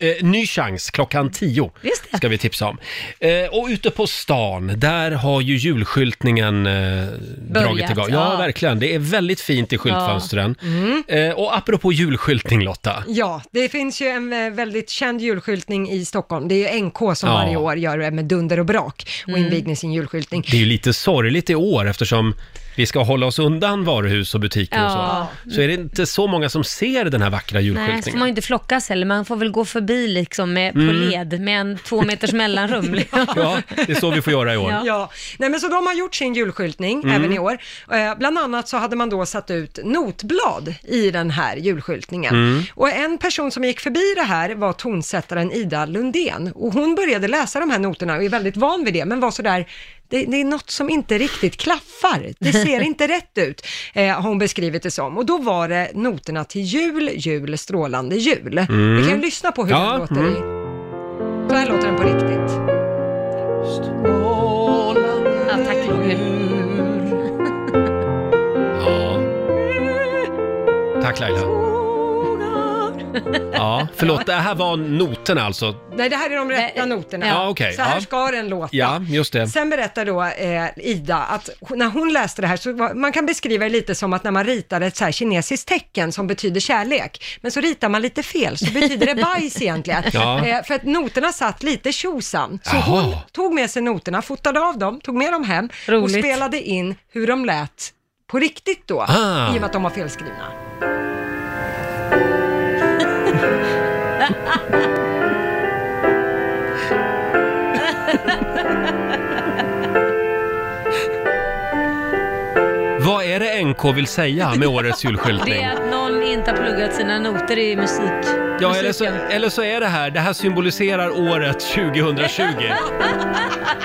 A: eh, ny chans klockan tio
C: Just
A: ska vi tipsa om. Eh, och ute på stan, där har ju julskyltningen eh, dragit igång. Ja,
B: ja.
A: verkligen. Det är väldigt fint i skyltfönstren.
C: Mm.
A: Eh, och apropå julskyltning Lotta.
B: Ja, det finns ju en eh, väldigt känd julskyltning i Stockholm. Det är ju NK som
A: Ja.
B: varje år gör det med dunder och brak och inviger sin julskyltning.
A: Det är ju lite sorgligt i år eftersom vi ska hålla oss undan varuhus och butiker
C: Ja.
A: och så. Så är det inte så många som ser den här vackra
C: Nej, så får
A: julskyltningen.
C: man ju inte flockas heller. Man får väl gå förbi liksom med, på
A: Mm.
C: led med en två
A: [laughs]
C: meters mellanrum. liksom.
A: Ja, det är så vi får göra i år.
B: Ja. Nej, men så de har gjort sin julskyltning
A: Mm.
B: även i år. Eh, bland annat så hade man då satt ut notblad i den här julskyltningen.
E: Mm.
B: Och en person som gick förbi det här var tonsättaren Ida Lundén. Och hon började läsa de här noterna och är väldigt van vid det, men var sådär det, det är något som inte riktigt klaffar. Det
E: [laughs]
B: ser inte rätt ut, eh, har hon beskrivit det som. Och då var det noterna till jul, jul, strålande jul.
E: Mm.
B: Vi kan ju lyssna på hur
E: Ja,
B: den låter
E: mm.
B: i. Så här låter den på riktigt.
C: Ja, tack Roger.
A: Ja. Tack Laila. Ja, förlåt, det här var noterna alltså.
B: Nej, det här är de rätta noterna.
A: Ja, okej,
B: Så här
A: ja.
B: ska den låta.
A: Ja, just det.
B: Sen berättar då eh, Ida att hon- när hon läste det här så var, man kan beskriva det lite som att när man ritar ett så här kinesiskt tecken som betyder kärlek, men så ritar man lite fel så betyder det
A: [laughs]
B: bajs egentligen.
E: Ja.
B: Eh, för att noterna satt lite tjosan. Så
E: Jaha.
B: hon tog med sig noterna, fotade av dem, tog med dem hem och
E: Roligt.
B: spelade in hur de lät på riktigt då,
E: Ah.
B: i och med att de var felskrivna.
A: Vad är det NK vill säga med årets
B: [laughs]
C: Det
A: julskyltning?
C: är att någon inte har pluggat sina noter i musik.
A: Ja, eller så, eller så är det här, det här symboliserar året 2020.
B: [laughs]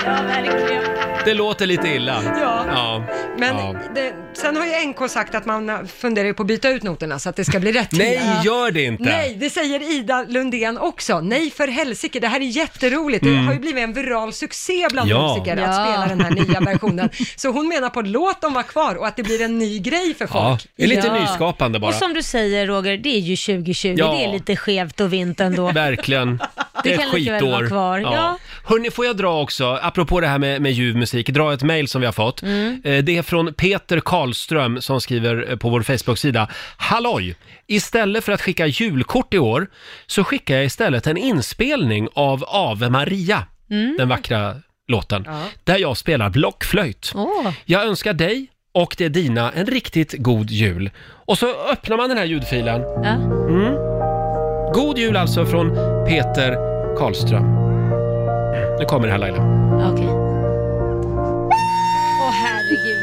C: Ja, verkligen.
A: Det låter lite illa.
B: Ja.
A: ja.
B: Men
A: ja.
B: det, sen har ju NK sagt att man funderar på att byta ut noterna så att det ska bli rätt.
A: Nej, gör det inte.
B: Nej, det säger Ida Lundén också. Nej, för helsike, det här är jätteroligt. Det
A: Mm.
B: har ju blivit en viral succé bland
A: Ja.
B: musiker att
A: Ja.
B: spela den här
A: [laughs]
B: nya versionen. Så hon menar på låt dem vara kvar och att det blir en ny grej för
A: Ja,
B: folk.
A: det är lite nyskapande bara.
C: Och som du säger Roger, det är ju 2020.
A: Ja.
C: Det är lite skevt och
A: [laughs]
C: vint ändå.
A: Verkligen. Det är
C: kan
A: ett
C: lika väl
A: skitår.
C: vara kvar. Ja.
A: Hörni, får jag dra också, apropå det här med, med ljuv musik, dra ett mejl som vi har fått.
E: Mm.
A: Eh, Det är från Peter Karlström som skriver eh, på vår Facebook-sida. Halloj! Istället för att skicka julkort i år så skickar jag istället en inspelning av Ave Maria,
E: Mm.
A: den vackra låten,
E: Ja.
A: där jag spelar blockflöjt.
C: Mm.
A: Jag önskar dig och det är dina en riktigt god jul. Och så öppnar man den här ljudfilen. Mm. God jul alltså från Peter Karlström. Nu kommer det här Laila.
C: Okej. Åh herregud.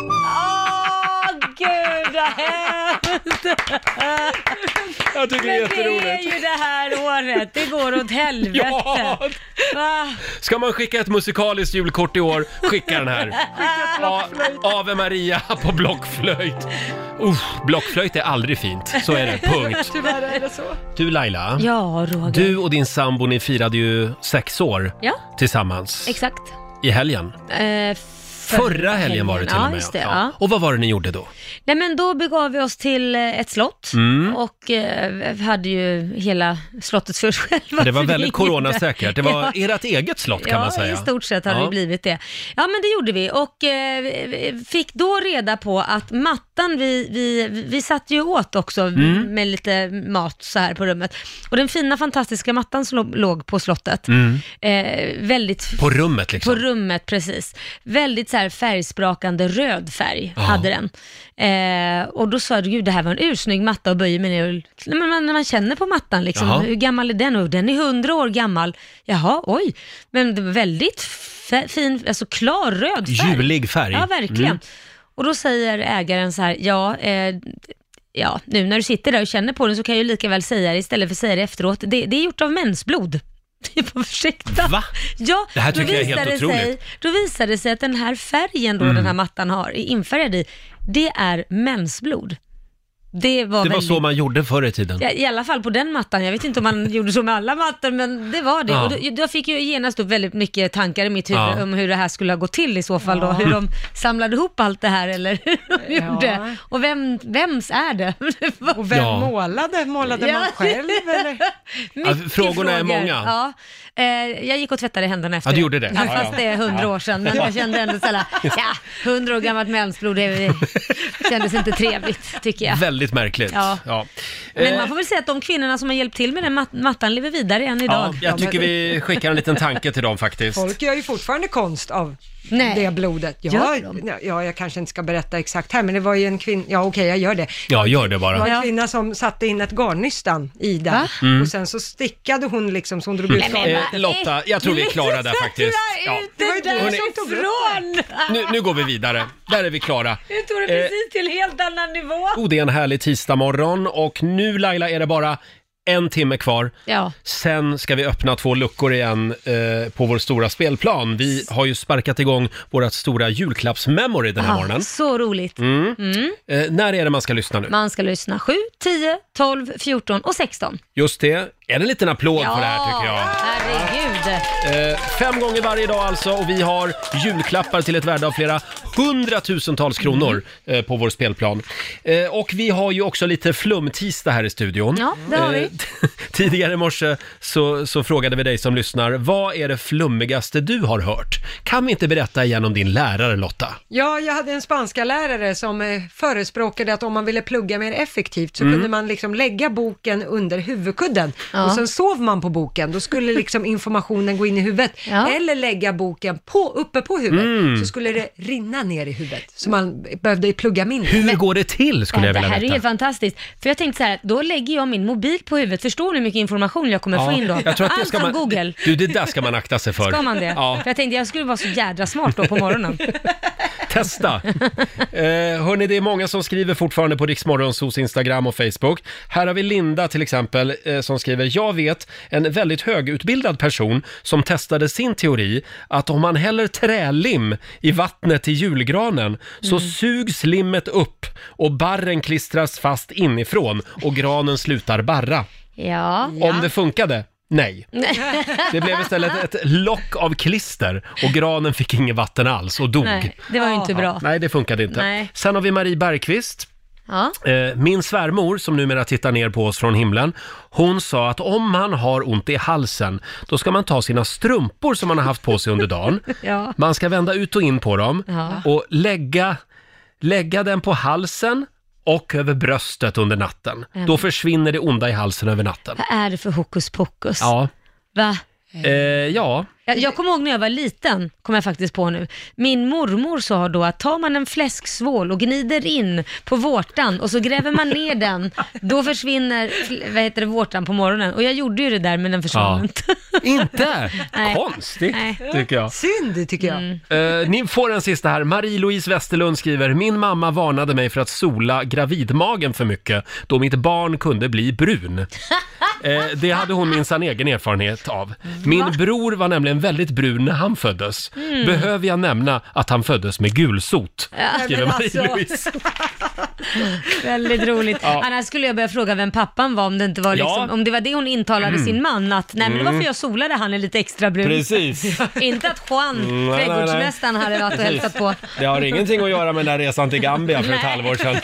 C: Åh
A: [laughs]
C: gud vad hemskt!
A: Jag tycker det är jätteroligt.
C: Men det är ju det här året, det går åt
A: [laughs]
C: helvete.
A: Ja.
C: Va?
A: Ska man skicka ett musikaliskt julkort i år, skicka den här. A- Ave Maria på blockflöjt. Usch, blockflöjt är aldrig fint. Så är det, [laughs] punkt.
B: Tyvärr är det så.
A: Du Laila,
C: Ja, Roger.
A: du och din sambo ni firade ju sex år
C: Ja,
A: tillsammans
C: exakt.
A: i helgen.
C: Eh,
A: Förra helgen var det till
C: ja,
A: och med.
C: Just det, ja.
A: Och vad var det ni gjorde då?
C: Nej men då begav vi oss till eh, ett slott
A: Mm.
C: och eh, vi hade ju hela slottet för oss [laughs] själva.
A: Det var
C: för
A: väldigt
C: ingen-
A: coronasäkert. Det var ert eget slott kan
C: ja,
A: man säga.
C: i stort sett har det blivit det. Ja, men det gjorde vi och eh, vi fick då reda på att mattan, vi, vi, vi satt ju åt också
E: Mm.
C: med lite mat så här på rummet. Och den fina fantastiska mattan som lå- låg på slottet,
A: Mm.
C: eh, väldigt...
A: På rummet liksom.
C: På rummet, precis. Väldigt så här färgsprakande röd färg
A: Ja.
C: hade den. Eh, och då sa jag, gud det här var en ursnygg matta och böjer mig ner. och- Nej, Men man, när man känner på mattan liksom,
E: Jaha.
C: hur gammal är den? Och den är hundra år gammal. Jaha, oj. Men det var väldigt fe- fin, alltså klar röd färg.
A: Julig färg.
C: Ja, verkligen.
A: Mm.
C: Och då säger ägaren så här, ja, eh, ja, nu när du sitter där och känner på den så kan jag ju lika väl säga det istället för att säga det efteråt. Det, det är gjort av mensblod. [laughs] Ursäkta.
A: Va?
C: Ja,
A: Det här
C: då
A: tycker jag är helt
C: visar det Sig,
A: otroligt.
C: då visar det sig att den här färgen då
A: Mm.
C: den här mattan har, är infärgad i, det är mensblod. Det var,
A: Det var
C: väldigt-
A: så man gjorde förr i tiden.
C: Ja, I alla fall på den mattan. Jag vet inte om man [laughs] gjorde så med alla mattor, men det var det.
A: Ja.
C: Och då, jag fick ju genast upp väldigt mycket tankar i mitt huvud
A: Ja.
C: om hur det här skulle ha gått till i så fall. Då.
A: Ja.
C: Hur de samlade ihop allt det här eller [laughs] hur de
B: Ja.
C: gjorde. Och vem, vems är det? [laughs]
B: Och vem Ja. målade? Målade man själv,
A: [laughs]
B: eller?
C: Mycket
A: frågorna är
C: frågor.
A: många.
C: Ja. Eh, jag gick och tvättade händerna efter.
A: Ja, du gjorde det.
C: Ja,
A: Ja,
C: fast
A: ja.
C: det är hundra
A: Ja.
C: år sedan. Men jag kände ändå
A: [laughs]
C: såhär, ja, hundra år gammalt mensblod, det
A: [laughs]
C: kändes inte trevligt tycker jag.
A: Väldigt märkligt.
C: Ja.
A: Eh,
C: Men man får väl säga att de kvinnorna som har hjälpt till med den mat- mattan lever vidare än
A: ja,
C: idag.
A: jag tycker vi skickar en liten tanke till dem faktiskt.
B: Folk gör ju fortfarande konst av det blodet. Ja,
A: Gör
B: ja, jag kanske inte ska berätta exakt här, men det var ju en kvinna, ja okej jag gör det.
A: Ja, gör det
B: Det var
A: bara.
B: en kvinna som satte in ett garnnystan i den
A: Mm.
B: och sen så stickade hon liksom så hon drog ut
A: Mm. Eh, Lotta, jag tror vi är klara
C: [laughs]
A: där faktiskt. Ja.
C: Det var ju
B: du
A: Hörrni,
B: som tog upp
A: Nu, nu går vi vidare. Där är vi klara.
C: Nu tog det
A: Eh,
C: precis till en helt annan nivå.
A: Oh, det är en härlig tisdagmorgon och nu Laila är det bara en timme kvar.
C: Ja.
A: Sen ska vi öppna två luckor igen eh, på vår stora spelplan. Vi har ju sparkat igång vårt stora julklappsmemory den här
C: Ah,
A: morgonen.
C: Så roligt.
A: Mm.
C: Mm.
A: Eh, när är det man ska lyssna nu?
C: Man ska lyssna 7, 10, 12, 14 och 16.
A: Just det. En liten applåd
C: Ja.
A: för det här tycker jag.
C: Herregud.
A: Eh, fem gånger varje dag alltså och vi har julklappar till ett värde av flera hundratusentals kronor eh, på vår spelplan. Eh, och vi har ju också lite flumtisdag här i studion. Eh,
C: Ja, det har vi.
A: [laughs] tidigare i morse så, så frågade vi dig som lyssnar, vad är det flummigaste du har hört? Kan vi inte berätta igen om din lärare Lotta?
B: Ja, jag hade en spanska lärare som eh, förespråkade att om man ville plugga mer effektivt så
A: Mm.
B: kunde man liksom lägga boken under huvudkudden
C: Ja.
B: och sen sov man på boken. Då skulle liksom informationen gå in i huvudet. Eller lägga boken på, uppe på huvudet
A: Mm.
B: så skulle det rinna ner i huvudet. Så man behövde plugga mindre.
A: Hur går det till skulle jag
C: det
A: vilja
C: här är
A: veta.
C: helt fantastiskt. För jag tänkte så här, då lägger jag min mobil på huvudet. Förstår ni hur mycket information jag kommer få in då?
A: jag tror att det
C: Allt
A: ska
C: från
A: man,
C: Google.
A: Du, det där ska man akta sig för.
C: Ska man det?
A: Ja.
C: För jag tänkte jag skulle vara så jädra smart då på morgonen.
A: [laughs]
C: [laughs]
A: Testa! Eh, hörni, det är många som skriver fortfarande på Riksmorgonsos Instagram och Facebook. Här har vi Linda till exempel eh, som skriver “Jag vet en väldigt högutbildad person som testade sin teori att om man häller trälim i vattnet till julgranen så
C: Mm.
A: sugs limmet upp och barren klistras fast inifrån och granen slutar barra.
C: Ja.
A: Om det funkade? Nej. Det blev istället ett lock av klister och granen fick inget vatten alls och dog.
C: Nej, det var ju inte bra.
A: Nej, det funkade inte.
C: Nej.
A: Sen har vi Marie Bergqvist.
C: Ja.
A: Eh, Min svärmor, som numera tittar ner på oss från himlen, hon sa att om man har ont i halsen, då ska man ta sina strumpor som man har haft på sig under dagen.
C: [laughs] Ja.
A: Man ska vända ut och in på dem
C: Ja.
A: och lägga, lägga den på halsen och över bröstet under natten.
C: Mm.
A: Då försvinner det onda i halsen över natten.
C: Vad är det för hokus pokus?
A: Ja.
C: Va?
A: Eh, ja.
C: Jag, jag kommer ihåg när jag var liten, kommer jag faktiskt på nu. Min mormor sa då att tar man en fläsksvål och gnider in på vårtan och så gräver man ner den, då försvinner fl- vad heter det, vårtan på morgonen. Och jag gjorde ju det där men den försvann
A: Ja. [laughs]
C: inte.
A: Inte?
C: Nej.
A: Konstigt,
C: Nej.
A: tycker jag.
B: Synd tycker jag.
A: Eh, ni får en sista här. Marie-Louise Westerlund skriver, min mamma varnade mig för att sola gravidmagen för mycket då mitt barn kunde bli brun. Eh, det hade hon minsann egen erfarenhet av. Min
E: Va?
A: bror var nämligen väldigt brun när han föddes.
E: Mm.
A: Behöver jag nämna att han föddes med gulsot?
C: Ja,
A: Skriver
C: men alltså.
A: Marie-Louise.
C: Väldigt roligt.
A: Ja.
C: Annars skulle jag börja fråga vem pappan var om det inte var,
A: Ja.
C: liksom, om det, var det hon intalade
A: Mm.
C: sin man att nej men det var för
A: Mm.
C: jag solade han är lite extra brun.
A: Precis.
C: [laughs] inte att Juan,
A: Mm, nej, nej, nej.
C: trädgårdsmästaren, hade varit och
A: Precis.
C: hälsat på.
A: Det har ingenting att göra med den här resan till Gambia för ett
C: Nej.
A: halvår
C: [laughs]
A: sedan.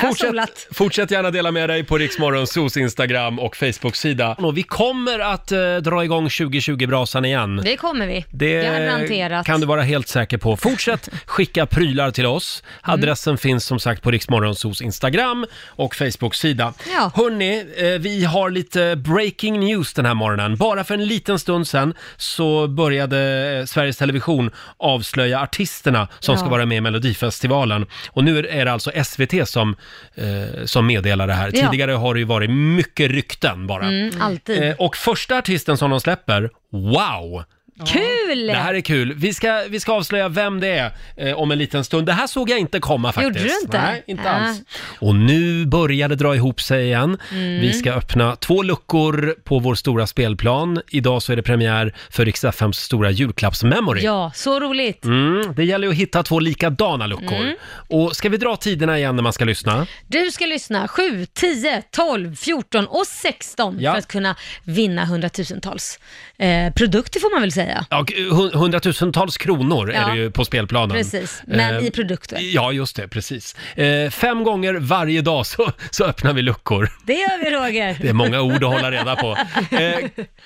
A: Fortsätt, fortsätt gärna dela med dig på Riksmorgonsos Instagram och Facebook-sida. Och vi kommer att eh, dra igång 2020-brasan igen.
C: Det kommer vi.
A: Det
C: Garanterat.
A: kan du vara helt säker på.
E: [laughs]
A: Fortsätt skicka prylar till oss.
E: Mm.
A: Adressen finns som sagt på Riksmorgonsos Instagram och Facebook-sida.
E: Ja.
A: Hörni, vi har lite breaking news den här morgonen. Bara för en liten stund sedan så började eh, Sveriges Television avslöja artisterna som
E: Ja.
A: ska vara med i Melodifestivalen. Och nu är det alltså SVT som, eh, som meddelar det här.
E: Ja.
A: Tidigare har det ju varit mycket rykten bara.
E: Mm, alltid.
A: Eh, Och första artisten som de släpper, wow!
C: Kul!
A: Det här är kul. Vi ska, vi ska avslöja vem det är eh, om en liten stund. Det här såg jag inte komma faktiskt.
C: Gjorde du inte?
A: Nej, inte
C: Ja.
A: alls. Och nu börjar det dra ihop sig igen.
C: Mm.
A: Vi ska öppna två luckor på vår stora spelplan. Idag så är det premiär för Rix FMs stora julklappsmemory.
C: Ja, så roligt.
A: Mm, det gäller ju att hitta två likadana luckor.
C: Mm.
A: Och ska vi dra tiderna igen när man ska lyssna?
C: Du ska lyssna 7, 10, 12, 14 och 16
A: Ja.
C: för att kunna vinna hundratusentals eh, produkter får man väl säga.
A: Ja, och hun- hundratusentals kronor
C: Ja.
A: är det ju på spelplanen.
C: Precis, men
A: Eh,
C: i produkter.
A: Ja, just det, precis. Eh, fem gånger varje dag så, så öppnar vi luckor.
C: Det gör vi Roger.
A: Det är många ord att hålla reda på. Eh,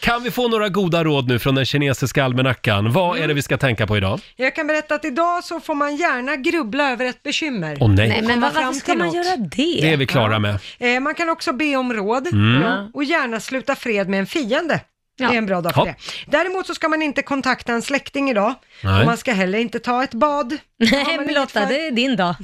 A: kan vi få några goda råd nu från den kinesiska almanackan? Vad är det vi ska tänka på idag?
B: Jag kan berätta att idag så får man gärna grubbla över ett bekymmer.
A: Åh, nej. Nej, men
B: Komma
C: varför
B: fram
C: ska
B: till
C: man
B: något.
C: göra det? [laughs]
A: Det är vi klara med.
B: Eh, Man kan också be om råd
A: Mm.
B: och gärna sluta fred med en fiende. Det är en bra dag för
E: Ja.
B: det. Däremot så ska man inte kontakta en släkting idag.
E: Nej.
B: Och man ska heller inte ta ett bad. Nej, Lotta, det
C: är din dag.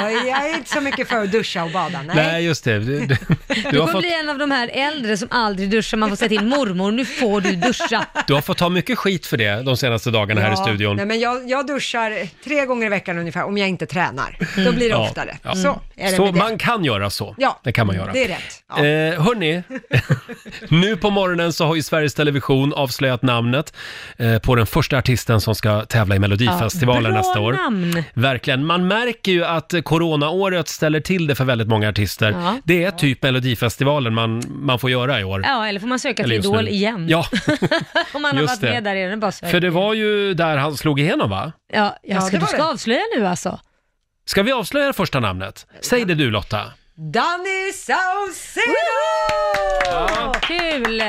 B: jag, är- jag är inte så mycket för att duscha och bada. Nej.
A: Nej, just det. Du, du,
C: Du
A: du, har
C: kommer
A: fått,
C: bli en av de här äldre som aldrig duschar. Man får säga till mormor, nu får du
A: [laughs]
C: duscha.
A: du har fått ta mycket skit för det de senaste dagarna här i
B: Ja,
A: studion.
B: Nej, men jag, jag duschar tre gånger i veckan ungefär om jag inte tränar. Då blir det
A: Mm. Ja,
B: oftare.
A: ja. Mm.
B: Så är det
A: så
B: med det.
A: man kan göra så.
B: Ja,
A: det kan man göra.
B: det är rätt. Ja.
A: Eh, hörni, [laughs] nu på morgonen så har ju Sveriges Television avslöjat namnet eh, på den första artisten som ska tävla i Melodifestivalen
C: Ja,
A: nästa
C: bra
A: år.
C: namn.
A: Verkligen. Man märker ju att eh, coronaåret ställer till det för väldigt många artister.
C: Ja.
A: Det är typ Melodifestivalen man, man får göra i år.
C: Ja, eller får man söka till
A: Eller just
C: Idol
A: nu.
C: igen.
A: Ja,
C: [laughs] Om man har
A: just
C: varit
A: det.
C: med där är det bara söka.
A: för det var ju där han slog igenom va?
C: Ja, jag
B: Ja,
C: ska,
B: det
C: du
B: var
C: ska
B: det.
C: avslöja nu alltså.
A: Ska vi avslöja det första namnet? Säg det du Lotta.
B: Danny Saucedo!
C: Kul!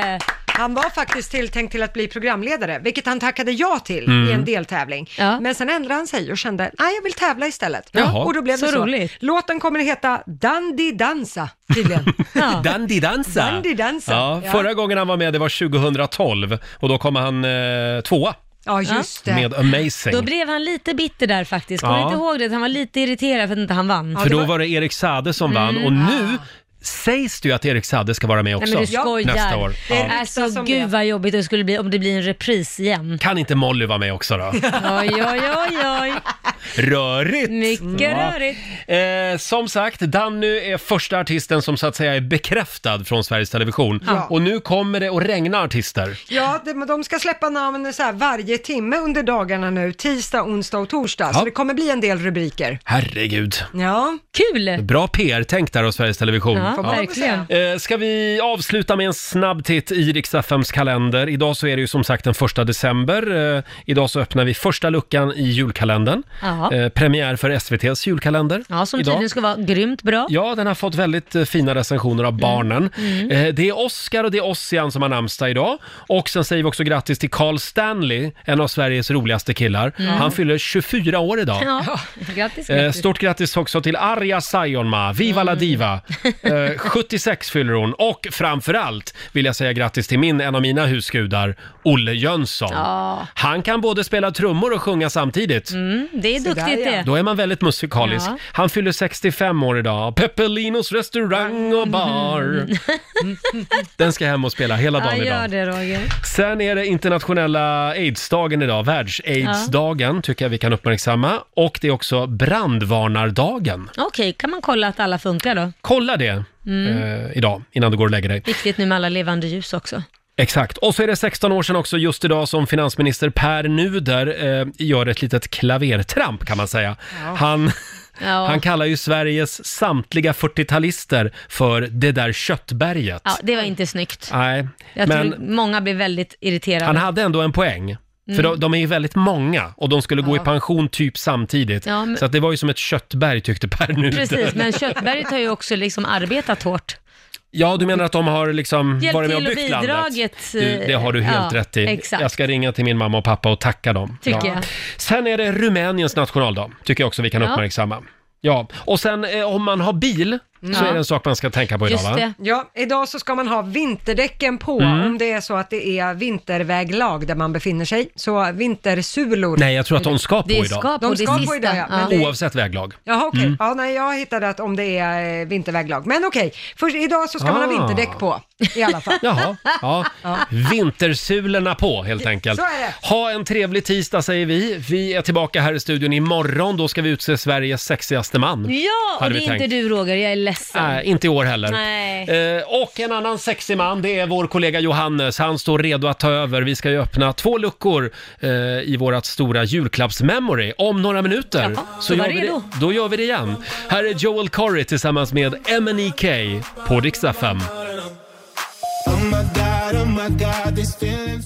B: Han var faktiskt tilltänkt till att bli programledare, vilket han tackade ja till
A: Mm.
B: i en deltävling. Men sen ändrade han sig och kände, nej jag vill tävla istället.
A: Jaha,
B: och då blev det
A: så
B: så.
A: roligt.
B: Låten kommer att heta Dandy Dansa, tydligen.
A: [laughs] Dandy Dansa.
B: Dandy Dansa.
A: Ja,
B: Ja.
A: Förra gången han var med det var 2012 och då kom han eh, tvåa
B: Ja,
C: just det.
A: med Amazing.
C: Då blev han lite bitter där faktiskt. Kommer
A: Ja.
C: ja. inte ihåg det? Att Han var lite irriterad för att inte han vann.
A: För då var det Erik Sade som vann
C: Mm.
A: och nu sägs det ju att Erik Sade ska vara med
C: Nej
A: också
C: men du skojar.
A: nästa år.
C: Det
A: Ja.
C: är alltså gud vad jobbigt det skulle bli om det blir en repris igen.
A: Kan inte Molly vara med också då?
C: [laughs] Oj, oj, oj, oj.
A: Rörigt!
C: Mycket rörigt.
A: Eh, som sagt, Danny är första artisten som så att säga är bekräftad från Sveriges Television.
B: Ja.
A: Och nu kommer det att regna artister.
B: Ja, de, de ska släppa namn så här varje timme under dagarna nu, tisdag, onsdag och torsdag.
A: Ja.
B: Så det kommer bli en del rubriker.
A: Herregud.
B: Ja.
C: Kul!
A: Bra PR-tänk där av Sveriges Television.
B: Ja, verkligen.
A: Eh, Ska vi avsluta med en snabb titt i riks FMs kalender. Idag så är det ju som sagt den första december. Eh, Idag så öppnar vi första luckan i julkalendern.
C: Ja.
A: Eh, Premiär för SVTs julkalender.
C: Ja, som
A: idag.
C: tydligen ska vara grymt bra.
A: Ja, den har fått väldigt eh, fina recensioner av barnen.
C: Mm.
A: Eh, Det är Oscar och det är Ossian som har namnsdag idag. Och sen säger vi också grattis till Carl Stanley, en av Sveriges roligaste killar.
C: Mm.
A: Han fyller 24 år idag.
C: Ja. Grattis,
A: Eh,
C: grattis.
A: Stort grattis också till Arja Saijonmaa, Viva la Diva. Eh, 76 fyller hon och framförallt vill jag säga grattis till min, en av mina husgudar, Olle Jönsson.
C: Ja.
A: Han kan både spela trummor och sjunga samtidigt.
C: Mm, det är duktigt det.
A: Då är man väldigt musikalisk.
C: Ja.
A: Han fyller 65 år idag. Peppelinos restaurang
C: Mm.
A: och
C: [laughs]
A: bar. Den ska jag hem och spela hela
C: Ja,
A: dagen idag.
C: gör det Roger.
A: Sen är det internationella aidsdagen idag, världs-aidsdagen tycker jag vi kan uppmärksamma. Och det är också brandvarnardagen.
C: Okej, kan man kolla att alla funkar då?
A: Kolla det
C: Mm.
A: eh, idag innan du går och lägger dig.
C: Viktigt nu med alla levande ljus också.
A: Exakt. Och så är det 16 år sedan också just idag som finansminister Per Nuder eh, gör ett litet klavertramp kan man säga. Han,
C: Ja.
A: han kallar ju Sveriges samtliga 40-talister för det där köttberget.
C: Ja, det var inte snyggt.
A: Nej,
C: Jag
A: men
C: tror många blev väldigt irriterade.
A: han hade ändå en poäng. För
C: Mm.
A: de, de är ju väldigt många och de skulle gå i
C: Ja.
A: pension typ samtidigt.
C: Ja, men-
A: Så att det var ju som ett köttberg tyckte Per Nuder.
C: Precis, men Köttberget har ju också liksom arbetat hårt.
A: Ja, du menar att de har liksom
C: Hjälpt
A: varit med och
C: till och
A: byggt landet?
C: bidragit, eh,
A: Du, det har du helt
C: ja,
A: rätt i.
C: exakt.
A: Jag ska ringa till min mamma och pappa och tacka dem.
C: Tycker jag.
A: Sen är det Rumäniens nationaldag, tycker jag också vi kan
C: Ja.
A: uppmärksamma. Ja, och sen eh, om man har bil så
B: Ja.
A: är det en sak man ska tänka på idag va?
B: Ja, idag så ska man ha vinterdäcken på
A: Mm.
B: om det är så att det är vinterväglag där man befinner sig. Så vintersulor.
A: Nej, jag tror att de ska på
B: Det
A: idag.
B: ska på, De det ska på sista. idag, ja, men det-
A: Oavsett väglag.
B: Jaha okej,
A: Mm.
B: ja, nej jag hittade att om det är eh, vinterväglag. Men okej, först idag så ska man ha
A: Ah.
B: vinterdäck på i alla fall.
A: Jaha, ja. Vintersulorna på helt enkelt.
B: Så är det.
A: Ha en trevlig tisdag säger vi. Vi är tillbaka här i studion imorgon. Då ska vi utse Sveriges sexigaste man.
C: Ja, och
A: hade
C: det
A: vi
C: är
A: tänkt.
C: inte du Roger, jag är ledsen.
A: Nej, Äh, inte i år heller.
C: Nej.
A: Eh, och en annan sexig man, det är vår kollega Johannes. Han står redo att ta över. Vi ska ju öppna två luckor eh, i vårt stora julklappsmemory om några minuter.
C: då var
A: gör vi
C: redo.
A: det, då gör vi det igen. Här är Joel Corry tillsammans med MNEK på Dixtafem.
E: Oh my god, oh my god, this feeling's